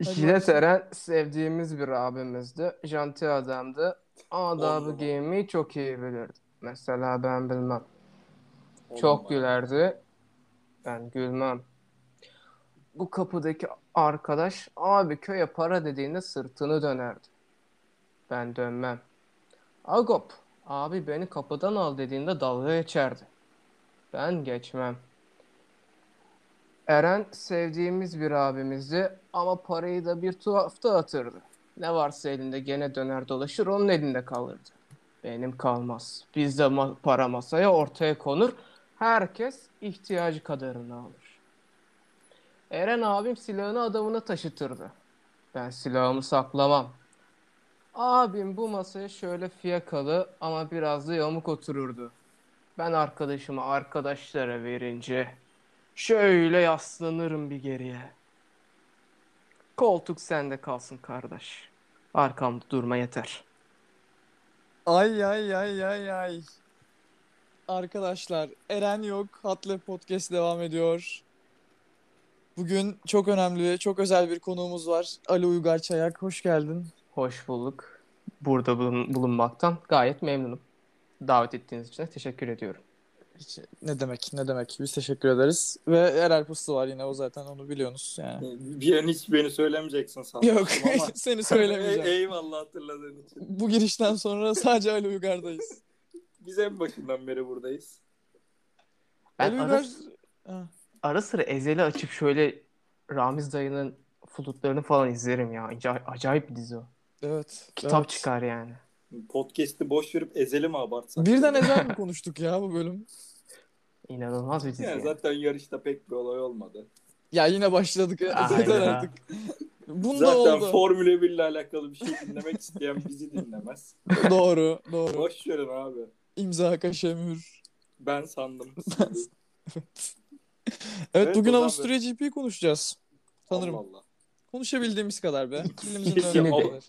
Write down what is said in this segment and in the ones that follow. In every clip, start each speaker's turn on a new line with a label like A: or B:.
A: Jile
B: Ömer'cim.
A: Seren sevdiğimiz bir abimizdi. Janti adamdı. Adabı
C: numara.
A: giymeyi çok iyi bilirdi. Mesela ben bilmem.
C: On
A: Çok
C: numara.
A: gülerdi. Ben gülmem. Bu kapıdaki arkadaş abi köye para dediğinde sırtını dönerdi. Ben dönmem. Agop abi beni kapıdan al dediğinde dalga geçerdi. Ben geçmem. Eren sevdiğimiz bir abimizdi ama parayı da bir tuhaf dağıtırdı. Ne varsa elinde gene döner dolaşır onun elinde kalırdı. Benim kalmaz. Bizde ma- para masaya ortaya konur. Herkes ihtiyacı kadarını alır. Eren abim silahını adamına taşıtırdı. Ben silahımı saklamam. Abim bu masaya şöyle fiyakalı ama biraz da yamuk otururdu. Ben arkadaşımı arkadaşlara verince şöyle yaslanırım bir geriye. Koltuk sende kalsın kardeş. Arkamda durma yeter.
B: Ay ay ay ay ay. Arkadaşlar Eren yok. Hatle Podcast devam ediyor. Bugün çok önemli ve çok özel bir konuğumuz var. Ali Uygar Çayak hoş geldin.
A: Hoş bulduk. Burada bulun- bulunmaktan gayet memnunum. Davet ettiğiniz için de teşekkür ediyorum.
B: Hiç- Ne demek ne demek biz teşekkür ederiz. Ve Erel Puslu var yine o zaten onu biliyorsunuz yani.
C: Ee, Bir an hiç beni söylemeyeceksin sandım.
B: Yok
C: ama-
B: seni
C: Ey-
B: söylemeyeceğim.
C: Eyvallah hatırladığın için.
B: Bu girişten sonra sadece Ali Uygar'dayız.
C: Biz en başından beri buradayız.
A: Ben
B: Ali
A: ara,
B: Uygar... Ha.
A: ara sıra Ezel'i açıp şöyle Ramiz dayının flütlerini falan izlerim ya. Acay- acayip bir dizi o.
B: Evet.
A: Kitap
B: evet.
A: çıkar yani.
C: Podcast'i boş verip ezeli mi abartsak?
B: Birden ezel mi konuştuk ya bu bölüm?
A: İnanılmaz bir dizi.
C: Yani
A: yani.
C: zaten yarışta pek bir olay olmadı.
B: Ya yine başladık. Zaten
A: Aynen.
B: artık. Bunda
C: Zaten
B: oldu.
C: Formula 1 ile alakalı bir şey dinlemek isteyen bizi dinlemez.
B: doğru, doğru.
C: Boş verin abi.
B: İmza kaşe mühür.
C: Ben sandım.
B: Evet,
C: Evet,
B: bugün
C: buradan
B: Avusturya GP'yi konuşacağız. Sanırım.
C: Allah Allah.
B: Konuşabildiğimiz kadar be. Dilimizin
C: İkisini
B: döndüğü
A: de.
B: kadar.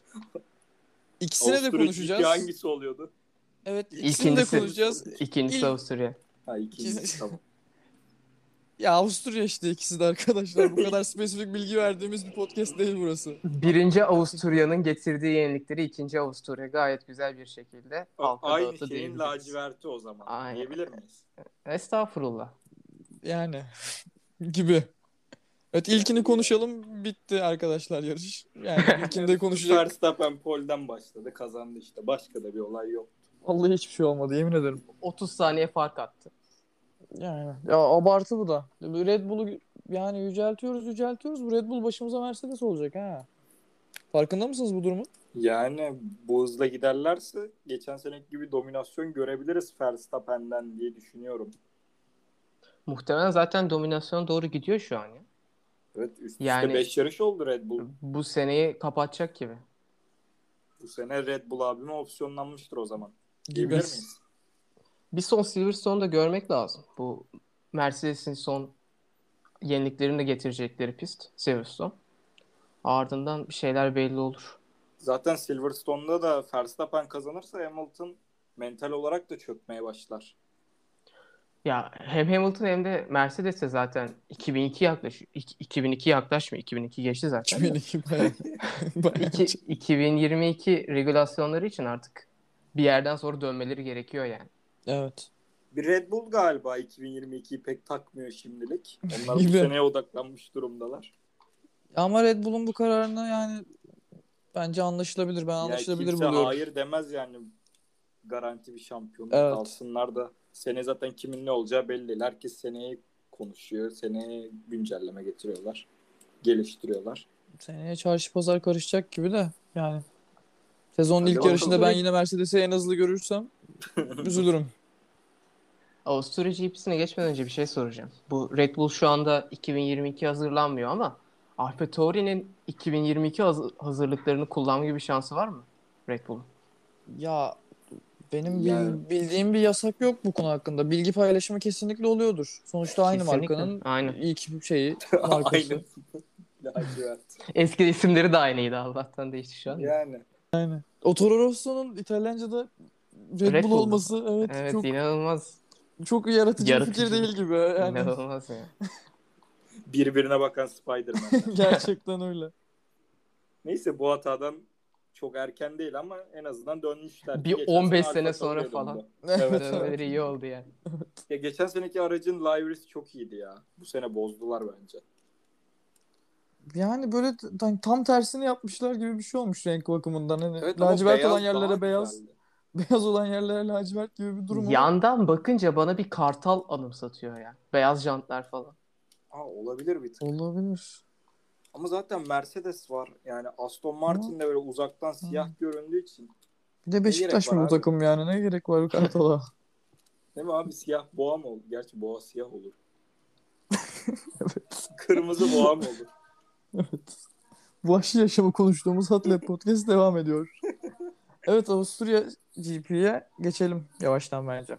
B: İkisine de
C: Avusturya
B: konuşacağız.
C: GP Hangisi oluyordu?
B: Evet, ikisini
A: İkincisi,
B: de konuşacağız.
A: ikincisi
B: İlk-
A: Avusturya.
C: Ha ikincisi tamam.
B: Ya Avusturya işte ikisi de arkadaşlar. Bu kadar spesifik bilgi verdiğimiz bir podcast değil burası.
A: Birinci Avusturya'nın getirdiği yenilikleri ikinci Avusturya gayet güzel bir şekilde halka
C: Aynı
A: dağıttı
C: şeyin
A: diyebiliriz.
C: laciverti o zaman.
A: Aynen.
C: Diyebilir miyiz?
A: Estağfurullah.
B: Yani gibi. Evet ilkini konuşalım. Bitti arkadaşlar yarış. Yani ilkini de konuşacak
C: Verstappen Pole'den başladı. Kazandı işte. Başka da bir olay yok.
B: Vallahi hiçbir şey olmadı yemin ederim.
A: 30 saniye fark attı.
B: Yani ya abartı bu da. Bu Red Bull'u yani yüceltiyoruz yüceltiyoruz. Bu Red Bull başımıza Mercedes olacak ha. Farkında mısınız bu durumun?
C: Yani bu hızla giderlerse geçen seneki gibi dominasyon görebiliriz Verstappen'den diye düşünüyorum.
A: Muhtemelen zaten dominasyona doğru gidiyor şu an ya.
C: Evet üst
A: Yani-
C: üste 5 yarış oldu Red Bull.
A: Bu seneyi kapatacak gibi.
C: Bu sene Red Bull abime opsiyonlanmıştır o zaman. Diyebilir
B: Gibi.
C: miyiz?
A: Bir son Silverstone'da görmek lazım. Bu Mercedes'in son yeniliklerini de getirecekleri pist Silverstone. Ardından bir şeyler belli olur.
C: Zaten Silverstone'da da Verstappen kazanırsa Hamilton mental olarak da çökmeye başlar.
A: Ya hem Hamilton hem de Mercedes de zaten 2002 yaklaşıyor. İk- 2002 yaklaşmıyor. 2002 geçti zaten.
B: 2002 bayağı. bayağı.
A: İki- 2022 regülasyonları için artık bir yerden sonra dönmeleri gerekiyor yani.
B: Evet.
C: Bir Red Bull galiba 2022'yi pek takmıyor şimdilik. Onlar bu
B: Gibi.
C: seneye odaklanmış durumdalar.
B: Ama Red Bull'un bu kararını yani bence anlaşılabilir. Ben
C: Ya
B: anlaşılabilir
C: kimse
B: buluyorum.
C: hayır demez yani garanti bir şampiyonluk
B: Evet.
C: alsınlar da sene zaten kimin ne olacağı belli değil. Herkes seneye konuşuyor. Seneye güncelleme getiriyorlar. Geliştiriyorlar.
B: Seneye çarşı pazar karışacak gibi de yani. Sezonun
C: Hadi
B: ilk
C: bakalım.
B: yarışında ben yine Mercedes'i en hızlı görürsem üzülürüm.
A: Avusturya GP'sine geçmeden önce bir şey soracağım. Bu Red Bull şu anda 2022 hazırlanmıyor ama Alfa Tauri'nin 2022 haz- hazırlıklarını kullanma gibi bir şansı var mı Red Bull'un?
B: Ya benim bil-
C: Yani-
B: bildiğim bir yasak yok bu konu hakkında. Bilgi paylaşımı kesinlikle oluyordur. Sonuçta aynı
A: Kesinlikle.
B: markanın
A: Aynen.
B: ilk şeyi markası.
C: Aynı. Lacivert.
A: Eski isimleri de aynıydı Allah'tan değişti şu an.
C: yani.
B: O Toro Rosso'nun İtalyanca'da Red,
A: Red
B: Bull
A: Bull.
B: olması evet,
A: evet
B: çok
A: inanılmaz.
B: çok yaratıcı,
A: Yaratıcı.
B: bir fikir değil gibi yani.
A: İnanılmaz ya.
C: Birbirine bakan Spider-Man.
B: Gerçekten öyle.
C: Neyse bu hatadan çok erken değil ama en azından dönmüşler.
A: Bir
C: Geçen
A: 15
C: sene
A: sene
C: Alfa
A: sonra
C: Tauri'ye
A: falan.
C: döndü.
A: Evet,
C: Evet,
A: evet. iyi oldu yani.
C: Ya geçen seneki aracın livery'si çok iyiydi ya. Bu sene bozdular bence.
B: Yani böyle t- tam- tam tersini yapmışlar gibi bir şey olmuş renk bakımından. Hani
C: Evet, ama
B: lacivert
C: beyaz
B: olan
C: daha
B: yerlere beyaz,
C: güzeldi.
B: beyaz olan yerlere lacivert gibi bir durum. oldu.
A: Yandan bakınca bana bir kartal anımsatıyor yani. Beyaz jantlar falan.
C: Aa, olabilir bir tık.
B: Olabilir.
C: Ama zaten Mercedes var. Yani Aston Martin de böyle uzaktan siyah göründüğü için.
B: Bir de Beşiktaş
C: gerek var
B: mı bu
C: abi?
B: takım yani? Ne gerek var bu kartala?
C: Değil mi abi siyah boğa mı olur? Gerçi boğa siyah olur. Kırmızı boğa mı olur?
B: Evet. Vahşi yaşamı konuştuğumuz Hatlab Podcast devam ediyor. Evet Avusturya GP'ye geçelim yavaştan bence.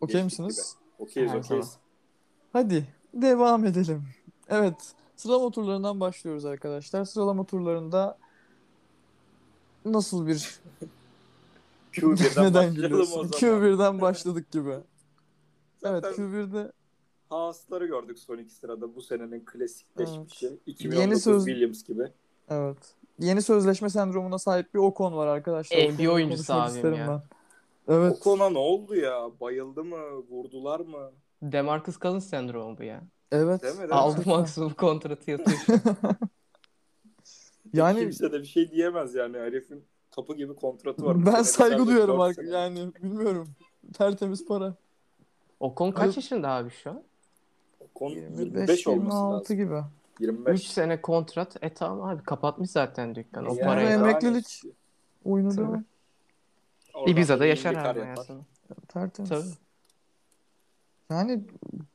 B: Okey
C: Geçtik
B: misiniz?
C: Okeyiz
A: Her
C: okeyiz.
B: Hadi devam edelim. Evet sıralama turlarından başlıyoruz arkadaşlar. Sıralama turlarında nasıl bir
C: Q1'den
B: neden
C: başlayalım o
B: gülüyorsun?
C: zaman.
B: Q1'den başladık gibi. Evet
C: Zaten-
B: Q1'de
C: Haas'ları gördük son iki sırada. Bu senenin klasikleşmişi.
B: Evet.
C: 2019
B: Yeni söz-
C: Williams gibi.
B: Evet. Yeni sözleşme sendromuna sahip bir Ocon var arkadaşlar.
A: NBA
B: Ocon'u
A: oyuncusu
B: konuşmak
A: abim
B: isterim
A: ya.
B: ben. Evet.
C: Ocon'a ne oldu ya? Bayıldı mı? Vurdular mı?
A: Demarcus Cousins sendromu bu ya.
B: Evet.
C: Değil mi? Değil mi?
A: Aldı maksimum kontratı yatıyor.
B: Yani
C: Kimse de bir şey diyemez yani. Herifin kapı gibi kontratı var. Bu
B: ben
C: sene
B: saygı
C: sadece
B: duyuyorum
C: dört
B: artık.
C: sene.
B: Yani bilmiyorum. Tertemiz para.
A: Ocon kaç yaşında abi şu an?
C: Ocon 25 olması
B: 25-26
C: lazım.
B: gibi.
A: 3
C: 25.
A: sene kontrat. E tamam abi kapatmış zaten dükkanı. O
C: Yani
A: parayı
B: Sonra
A: da.
B: emeklilik. Oyunu
A: Tabii.
B: devam.
C: Oradan
A: Ibiza'da
C: bir
A: yaşar
C: kar
A: abi
C: yapar.
A: hayatını.
B: Tertemiz.
A: Tabii.
B: Yani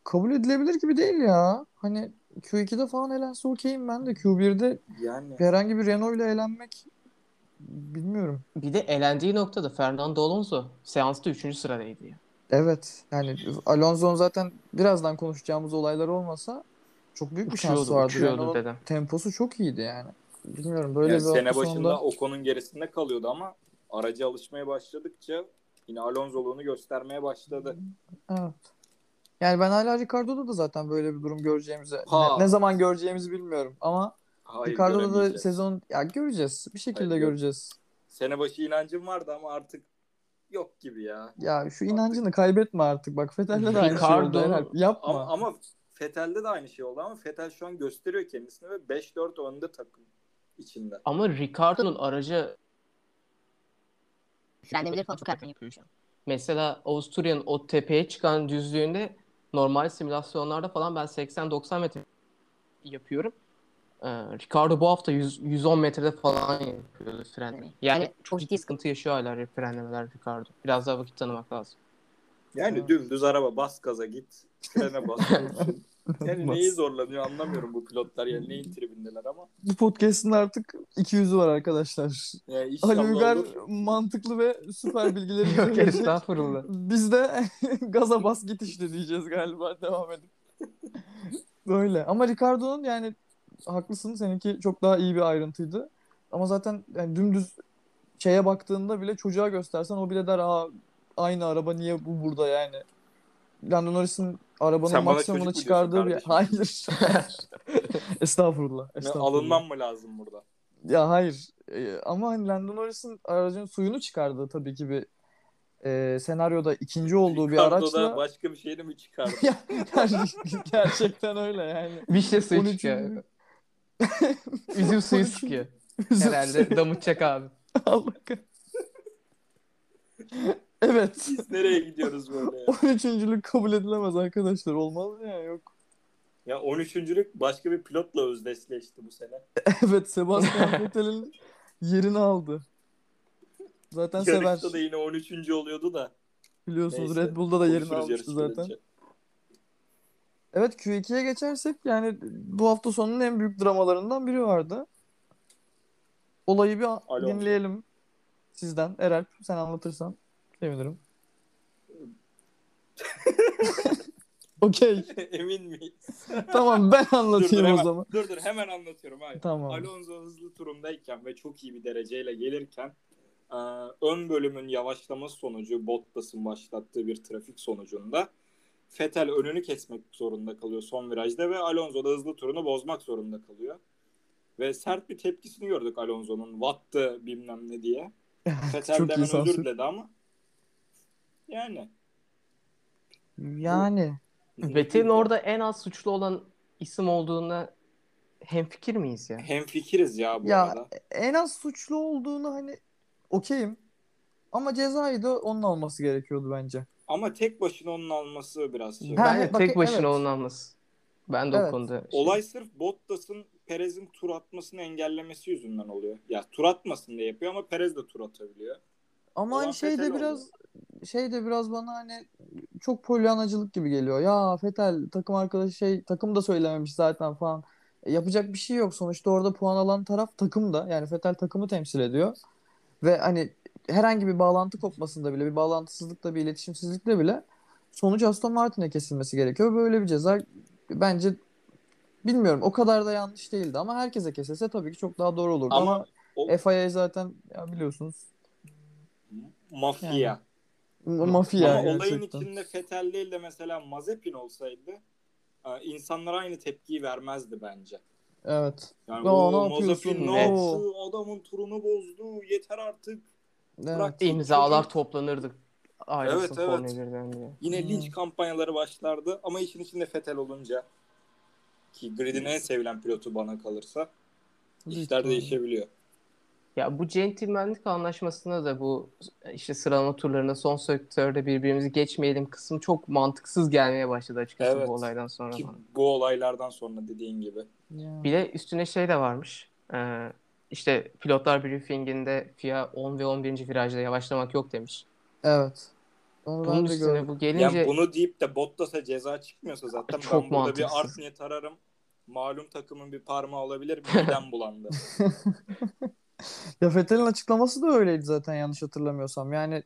B: kabul edilebilir gibi değil ya. Hani Q2'de falan elense okeyim ben de. Q1'de
C: Yani
B: herhangi bir Renault ile elenmek bilmiyorum.
A: Bir de elendiği noktada Fernando Alonso seansta 3. sıradaydı ya.
B: Evet. Yani Alonso'nun zaten birazdan konuşacağımız olaylar olmasa çok büyük bir şansı
A: Uçuyordu,
B: vardı.
A: uçuyordu
B: Renault'un
A: dedem.
B: temposu çok iyiydi yani. Bilmiyorum böyle
C: yani
B: bir
C: sene
B: hafta
C: başında
B: sonunda
C: Ocon'un gerisinde kalıyordu ama araca alışmaya başladıkça yine Alonso'luğunu göstermeye başladı.
B: Evet. Yani ben hala Ricardo'da da zaten böyle bir durum göreceğimizi
C: Ha.
B: ne, ne zaman göreceğimizi bilmiyorum ama
C: Hayır,
B: Ricardo'da da şey-
C: göremeyeceğiz.
B: sezon ya göreceğiz. Bir şekilde
C: Hayır, gör-
B: göreceğiz.
C: Sene başı inancım vardı ama artık yok gibi ya.
B: Ya şu inancını kaybetme artık. Bak Vettel'le de aynı şey oldu.
A: Ricardo-
B: Herhalde. Yapma.
C: Ama, ama Fetel'de de aynı şey oldu ama Fetel şu an gösteriyor kendisini ve 5-4 önde takım içinde.
A: Ama Ricardo'nun aracı
D: Ben de bilir kontrol kartını yapıyor şu an.
A: mesela Avusturya'nın o tepeye çıkan düzlüğünde normal simülasyonlarda falan ben 80-90 metre yapıyorum. Ee, Ricardo bu hafta 100, 110 metrede falan yapıyordu frenlemeyi. Yani,
D: Yani
A: çok ciddi sıkıntı yaşıyor hala frenlemeler Ricardo. Biraz daha vakit tanımak lazım.
C: Yani
B: Evet.
C: dümdüz araba bas gaza git, frene bas. dönsün. yani
B: Bas.
C: neyi zorlanıyor anlamıyorum bu pilotlar yani neyin tribindeler ama.
B: Bu podcast'in artık iki yüzü var arkadaşlar.
C: Yani
B: Ali
C: inşallah
B: Uygar
C: olur.
B: mantıklı ve süper bilgileri bize
A: Yok
B: verecek.
A: estağfurullah.
B: Biz de gaza bas git işte diyeceğiz galiba devam edip. Böyle. Ama Ricardo'nun yani haklısın seninki çok daha iyi bir ayrıntıydı. Ama zaten yani dümdüz şeye baktığında bile çocuğa göstersen o bile der aa aynı araba niye bu burada yani. Lando Norris'in arabanın
C: Sen bana çocuk
B: maksimumunu
C: mu diyorsun
B: çıkardığı bir...
C: kardeşim?
B: Hayır. estağfurullah.
C: Ne,
B: estağfurullah.
C: alınmam mı lazım burada?
B: Ya hayır. Ee, ama hani Lando Norris'in aracın suyunu çıkardığı tabii ki bir e, senaryoda ikinci olduğu bir
C: Ricardo'da
B: araçla
C: başka bir şeyini mi çıkardı?
B: Ya- yani gerçekten öyle yani.
A: Vişne şey suyu
B: 13.
A: çıkıyor. Üzüm suyu sıkıyor. Herhalde damıtacak abi.
B: Allah kah- Evet.
C: Biz nereye gidiyoruz böyle ya?
B: 13.lük kabul edilemez arkadaşlar. Olmaz ya yok.
C: Ya 13.lük başka bir pilotla özdeşleşti bu sene.
B: Evet Sebastian Vettel'in yerini aldı. Zaten sever.
C: Yarışta da yine 13. oluyordu da.
B: Biliyorsunuz
C: Neyse,
B: Red Bull'da da yerini
C: Konuşuruz
B: almıştı
C: yarış
B: zaten.
C: bitince.
B: Evet Q2'ye geçersek yani bu hafta sonunun en büyük dramalarından biri vardı. Olayı bir
C: Alo.
B: dinleyelim sizden. Eralp sen anlatırsan sevinirim. Okey.
C: Emin miyiz?
B: Tamam ben
C: Dur, dur,
B: anlatayım o
C: hemen-
B: zaman.
C: Dur dur hemen anlatıyorum. Hayır.
B: Tamam.
C: Alonso hızlı turundayken ve çok iyi bir dereceyle gelirken e, ön bölümün yavaşlaması sonucu Bottas'ın başlattığı bir trafik sonucunda Fetel önünü kesmek zorunda kalıyor son virajda ve Alonso da hızlı turunu bozmak zorunda kalıyor. Ve sert bir tepkisini gördük Alonso'nun. Watt'ı bilmem ne diye. Fetel
B: Çok iyi
C: hemen özür
B: sansür.
C: diledi ama. Yani.
B: Yani.
A: Vettel'in orada en az suçlu olan isim olduğuna hemfikir miyiz ya?
C: Hem fikiriz ya bu
B: Ya,
C: arada.
B: En az suçlu olduğunu hani okeyim. Ama cezayı da onun alması gerekiyordu bence.
C: Ama tek başına onun alması biraz şey.
B: Ha,
A: Bence
B: evet, bak-
A: tek başına
B: evet.
A: onun alması. Ben de o
B: Evet.
A: konuda şey-
C: Olay sırf Bottas'ın Perez'in tur atmasını engellemesi yüzünden oluyor. Ya tur atmasın diye yapıyor ama Perez de tur atabiliyor.
B: Ama
C: Olan
B: hani şey de
C: Vettel
B: biraz şey de biraz bana hani çok polyanacılık gibi geliyor. Ya Fetel takım arkadaşı şey takım da söylememiş zaten falan. E, yapacak bir şey yok. Sonuçta orada puan alan taraf takım da. Yani Fetel takımı temsil ediyor. Ve hani herhangi bir bağlantı kopmasında bile bir bağlantısızlıkla bir iletişimsizlikle bile sonuç Aston Martin'e kesilmesi gerekiyor. Böyle bir ceza bence bilmiyorum o kadar da yanlış değildi ama herkese kesilse tabii ki çok daha doğru olurdu.
C: Ama
B: Ama,
C: o-
B: FIA zaten ya biliyorsunuz
C: Mafya.
B: Yani. Mafya
C: Ama olayın
B: gerçekten.
C: içinde Fetel değil de mesela Mazepin olsaydı e, insanlar aynı tepkiyi vermezdi bence.
B: Evet.
C: Yani
B: Ya
C: o
B: ne
C: Mazepin
B: yapıyorsun?
C: ne
A: Evet.
C: yaptı? Adamın turunu bozdu. Yeter artık.
B: Evet.
C: Bırak.
A: imzalar
C: Çocuk-
A: toplanırdık. Ayrılsın
C: Evet, evet.
A: Formula 1'den diye.
C: Yine
B: Hmm.
C: linç kampanyaları başlardı ama işin içinde Fetel olunca ki gridin en sevilen pilotu bana kalırsa işler değişebiliyor.
A: Ya bu centilmenlik anlaşmasına da bu işte sıralama turlarında son sektörde birbirimizi geçmeyelim kısmı çok mantıksız gelmeye başladı açıkçası
C: Evet.
A: bu olaydan sonra.
C: Ki
A: bana.
C: bu olaylardan sonra dediğin gibi.
B: Ya.
A: Bir de üstüne şey de varmış. Ee, işte pilotlar briefinginde FIA 10 ve 11. virajda yavaşlamak yok demiş.
B: Evet. Onu
A: Bunun
B: ben de
A: üstüne
B: gördüm.
A: bu gelince
C: Yani bunu deyip de Bottas'a ceza çıkmıyorsa zaten
A: Çok
C: ben burada bir
A: mantıksız.
C: art niyet ararım. Malum takımın bir parmağı olabilir. Midem bulandı.
B: Ya Vettel'in açıklaması da öyleydi zaten yanlış hatırlamıyorsam. Yani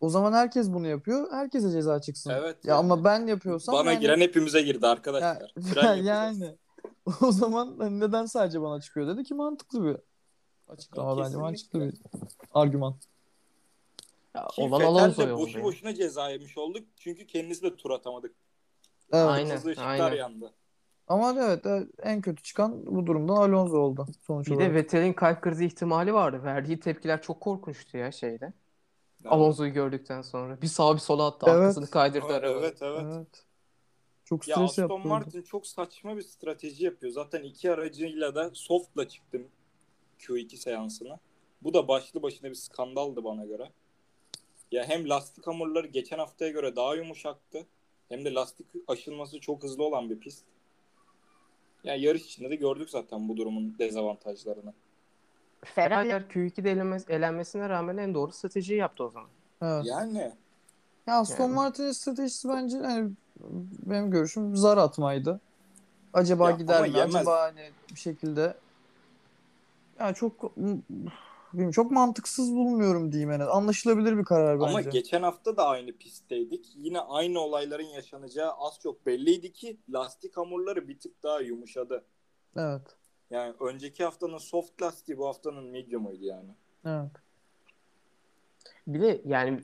B: o zaman herkes bunu yapıyor. Herkese ceza çıksın.
C: Evet,
B: Ya
C: yani.
B: ama ben yapıyorsam
C: Bana
B: yani,
C: giren hepimize girdi
B: ya,
C: arkadaşlar. Fren yapacağız.
B: yani o zaman hani neden sadece bana çıkıyor dedi ki mantıklı bir açıklama bence.
C: Kesinlikle.
B: Mantıklı bir argüman.
A: ya,
C: Ki
A: olan
C: Vettel de
A: Alonso yolda.
C: boşu
A: yani.
C: boşuna ceza yemiş olduk. Çünkü kendisi de tur atamadık.
B: Evet.
A: Aynen.
C: Kırmızı ışıklar
A: aynen.
C: yandı.
B: Ama evet, evet, en kötü çıkan bu durumdan Alonso oldu sonuç
A: Bir
B: olarak.
A: de Vettel'in kalp krizi ihtimali vardı. Verdiği tepkiler çok korkunçtu ya şeyde.
C: Yani-
A: Alonso'yu gördükten sonra. Bir sağa bir sola attı.
B: Evet.
A: Arkasını kaydırdı
C: Evet,
A: araba.
C: evet evet.
B: Evet. Çok
C: Ya
B: stres
C: Aston
B: yaptı. orada.
C: Martin çok saçma bir strateji yapıyor. Zaten iki aracıyla da softla çıktım Q2 seansına. Bu da başlı başına bir skandaldı bana göre. Ya hem lastik hamurları geçen haftaya göre daha yumuşaktı. Hem de lastik aşılması çok hızlı olan bir pist. Ya yarış içinde de gördük zaten bu durumun dezavantajlarını.
A: Ferrari Q2'de elenme- elenmesine rağmen en doğru stratejiyi yaptı o zaman.
B: Evet.
C: Yani
B: Ya Aston
A: Yani.
B: Martin'in stratejisi bence hani benim görüşüm zar atmaydı. Acaba
C: Ya ama
B: gider mi?
C: yemez.
B: Acaba hani bir şekilde ya çok bilmiyorum, çok mantıksız bulmuyorum diyeyim en az. Anlaşılabilir bir karar
C: Ama
B: bence.
C: geçen hafta da aynı pistteydik. Yine aynı olayların yaşanacağı az çok belliydi ki lastik hamurları bir tık daha yumuşadı.
B: Evet.
C: Yani önceki haftanın soft lastiği bu haftanın medium'uydu yani.
B: Evet.
A: Bir de yani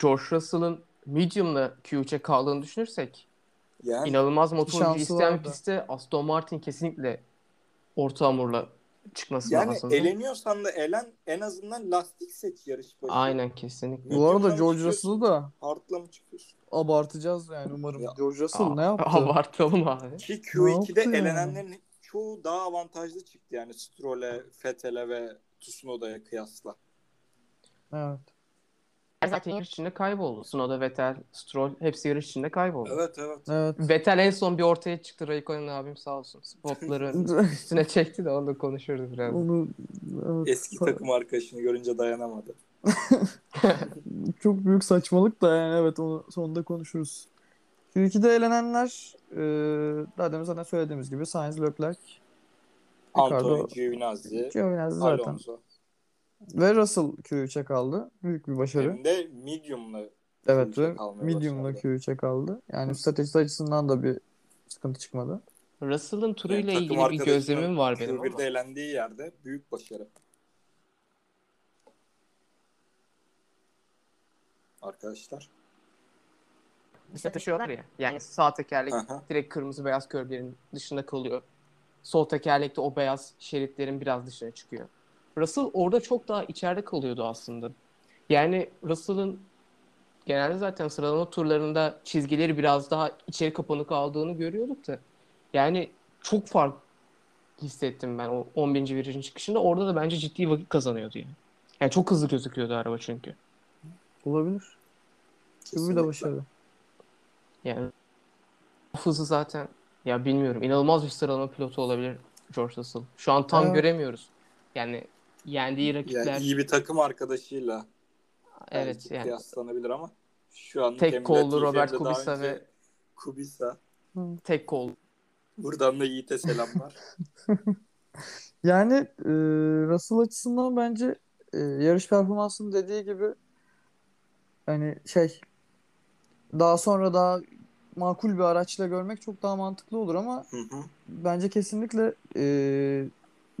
A: George Russell'ın medium'la Q3'e kaldığını düşünürsek
C: Yani
A: inanılmaz motorcu
B: şansı
A: isteyen
B: vardı.
A: pistte Aston Martin kesinlikle orta hamurla çıkması
C: yani
A: lazım.
C: eleniyorsan da elen en azından lastik seç yarış başı.
A: Aynen kesinlikle.
B: Bu arada
C: Medium'dan
B: George
C: çıkıyorsun.
B: Russell'ı da
C: Hardla mı çıkıyorsun?
B: abartacağız yani umarım.
C: Ya-
B: George Russell ne
A: Aa,
B: yaptı?
A: Abartalım abi.
C: Ki
B: yaptı
C: Q2'de
B: ya?
C: elenenlerin çoğu daha avantajlı çıktı yani Stroll'e, Vettel'e ve Tsunoda'ya kıyasla.
B: Evet.
A: Zaten yarış içinde kayboldu. Tsunoda, Vettel, Stroll hepsi yarış içinde kayboldu.
C: Evet evet.
B: Evet.
A: Vettel en son bir ortaya çıktı. Raikkonen abim sağ olsun. Spotları üstüne çekti de onu da konuşuruz biraz.
B: Onu evet,
C: Eski
B: sa-
C: takım arkadaşını görünce dayanamadı.
B: çok büyük saçmalık da yani evet onu sonunda konuşuruz. Q2'de elenenler e, daha demin zaten söylediğimiz gibi Sainz, Leclerc,
C: Antonio
B: Ricardo,
C: Giovinazzi,
B: Giovinazzi zaten.
C: Alonso.
B: Ve Russell Q3'e kaldı. Büyük bir başarı.
C: Hem de medium'la
B: evet
C: Q3'e
B: ve
C: kalmaya
B: medium'la
C: başardı.
B: Q3'e kaldı. Yani strateji açısından da bir sıkıntı çıkmadı.
A: Russell'ın
C: Yani
A: turuyla
C: takım
A: ilgili bir
C: arkadaşının
A: gözlemim var benim.
C: Q1'de
A: ama.
C: eğlendiği yerde büyük başarı. Arkadaşlar.
A: Mesela taşıyorlar ya. Yani sağ tekerlek
C: Aha.
A: direkt kırmızı beyaz körbelerin dışında kalıyor. sol tekerlekte o beyaz şeritlerin biraz dışına çıkıyor. Russell orada çok daha içeride kalıyordu aslında. Yani Russell'ın genelde zaten sıralama turlarında çizgileri biraz daha içeri kapanık aldığını görüyorduk da. Yani çok fark hissettim ben o 11. virajın çıkışında. Orada da bence ciddi vakit kazanıyordu yani. Yani çok hızlı gözüküyordu araba çünkü.
B: Olabilir. Bu bir
C: Kesinlikle.
B: de başarı.
A: Yani hızı zaten ya bilmiyorum inanılmaz bir sıralama pilotu olabilir George Russell. Şu an tam
B: Evet.
A: göremiyoruz. Yani yendiği rakipler
C: Yani iyi bir takım arkadaşıyla
A: evet
C: belki
A: yani
C: kıyaslanabilir ama şu an
A: Tek kollu Robert Kubica ve-
C: Kubica.
A: tek kol.
C: Buradan da Yiğit'e selamlar.
B: Yani e, Russell açısından bence e, yarış performansının dediği gibi hani şey daha sonra daha makul bir araçla görmek çok daha mantıklı olur ama
C: Hı hı.
B: bence kesinlikle e,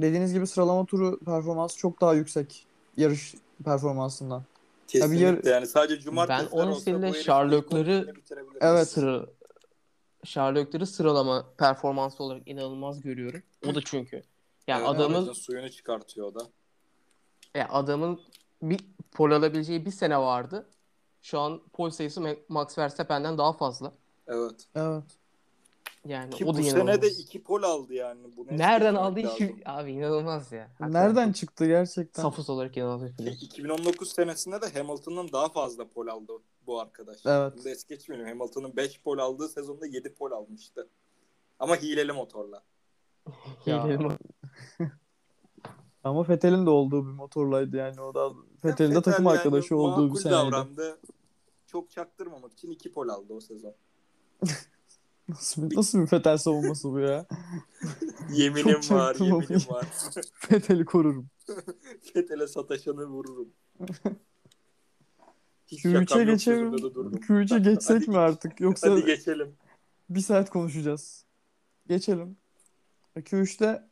B: dediğiniz gibi sıralama turu performansı çok daha yüksek yarış performansından.
C: Kesinlikle
B: yar-
C: yani sadece cumartesi
A: Ben onun
C: olsa bu
A: seninle
C: herifin
A: Sherlock'ları-
C: ilk bitirebiliriz.
B: Evet.
A: Sıra, Sherlock'ları sıralama performansı olarak inanılmaz görüyorum. O da çünkü. Yani
C: Evet,
A: adamın
C: aracın suyunu çıkartıyor o da.
A: ya adamın bir pol alabileceği bir sene vardı. Şu an pol sayısı Ma- Max Verstappen'den daha fazla.
C: Evet.
B: Evet.
A: Yani
C: Ki
A: o da
C: bu
A: inanılmaz.
C: sene de iki pol aldı yani. Bu ne
A: Nereden
C: söylemek
A: aldı
C: lazım?
A: hiç abi inanılmaz ya. Hakikaten.
B: Nereden çıktı gerçekten?
A: Safız olarak inanılmaz bir
C: Ki
A: pilot.
C: 2019 senesinde de Hamilton'dan daha fazla pol aldı bu arkadaş.
B: Evet.
C: Bunu da es geçmeyelim. Hamilton'ın 5 pol aldığı sezonda 7 pol almıştı. Ama hileli motorla.
B: Ya.
A: Hileli mi?
B: Ama Fethel'in de olduğu bir motorlaydı yani o da Fethel'in de
C: Vettel
B: takım
C: yani
B: arkadaşı olduğu bir
C: makul
B: seneydi.
C: davrandı. Çok çaktırmamak için 2 pol aldı o sezon.
B: Nasıl bir, nasıl bir Fethel savunması bu ya?
C: Yeminim
B: Çok
C: var,
B: çaktırmamak.
C: yeminim var.
B: Fethel'i korurum.
C: Fetele sataşanı vururum. Hiç
B: Q3'e
C: şakam
B: geçelim.
C: yok, sözümde de durdum.
B: Q3'e
C: Hadi
B: geçsek
C: geç.
B: mi artık? Yoksa
C: Hadi geçelim.
B: bir saat konuşacağız. Geçelim. Q3'te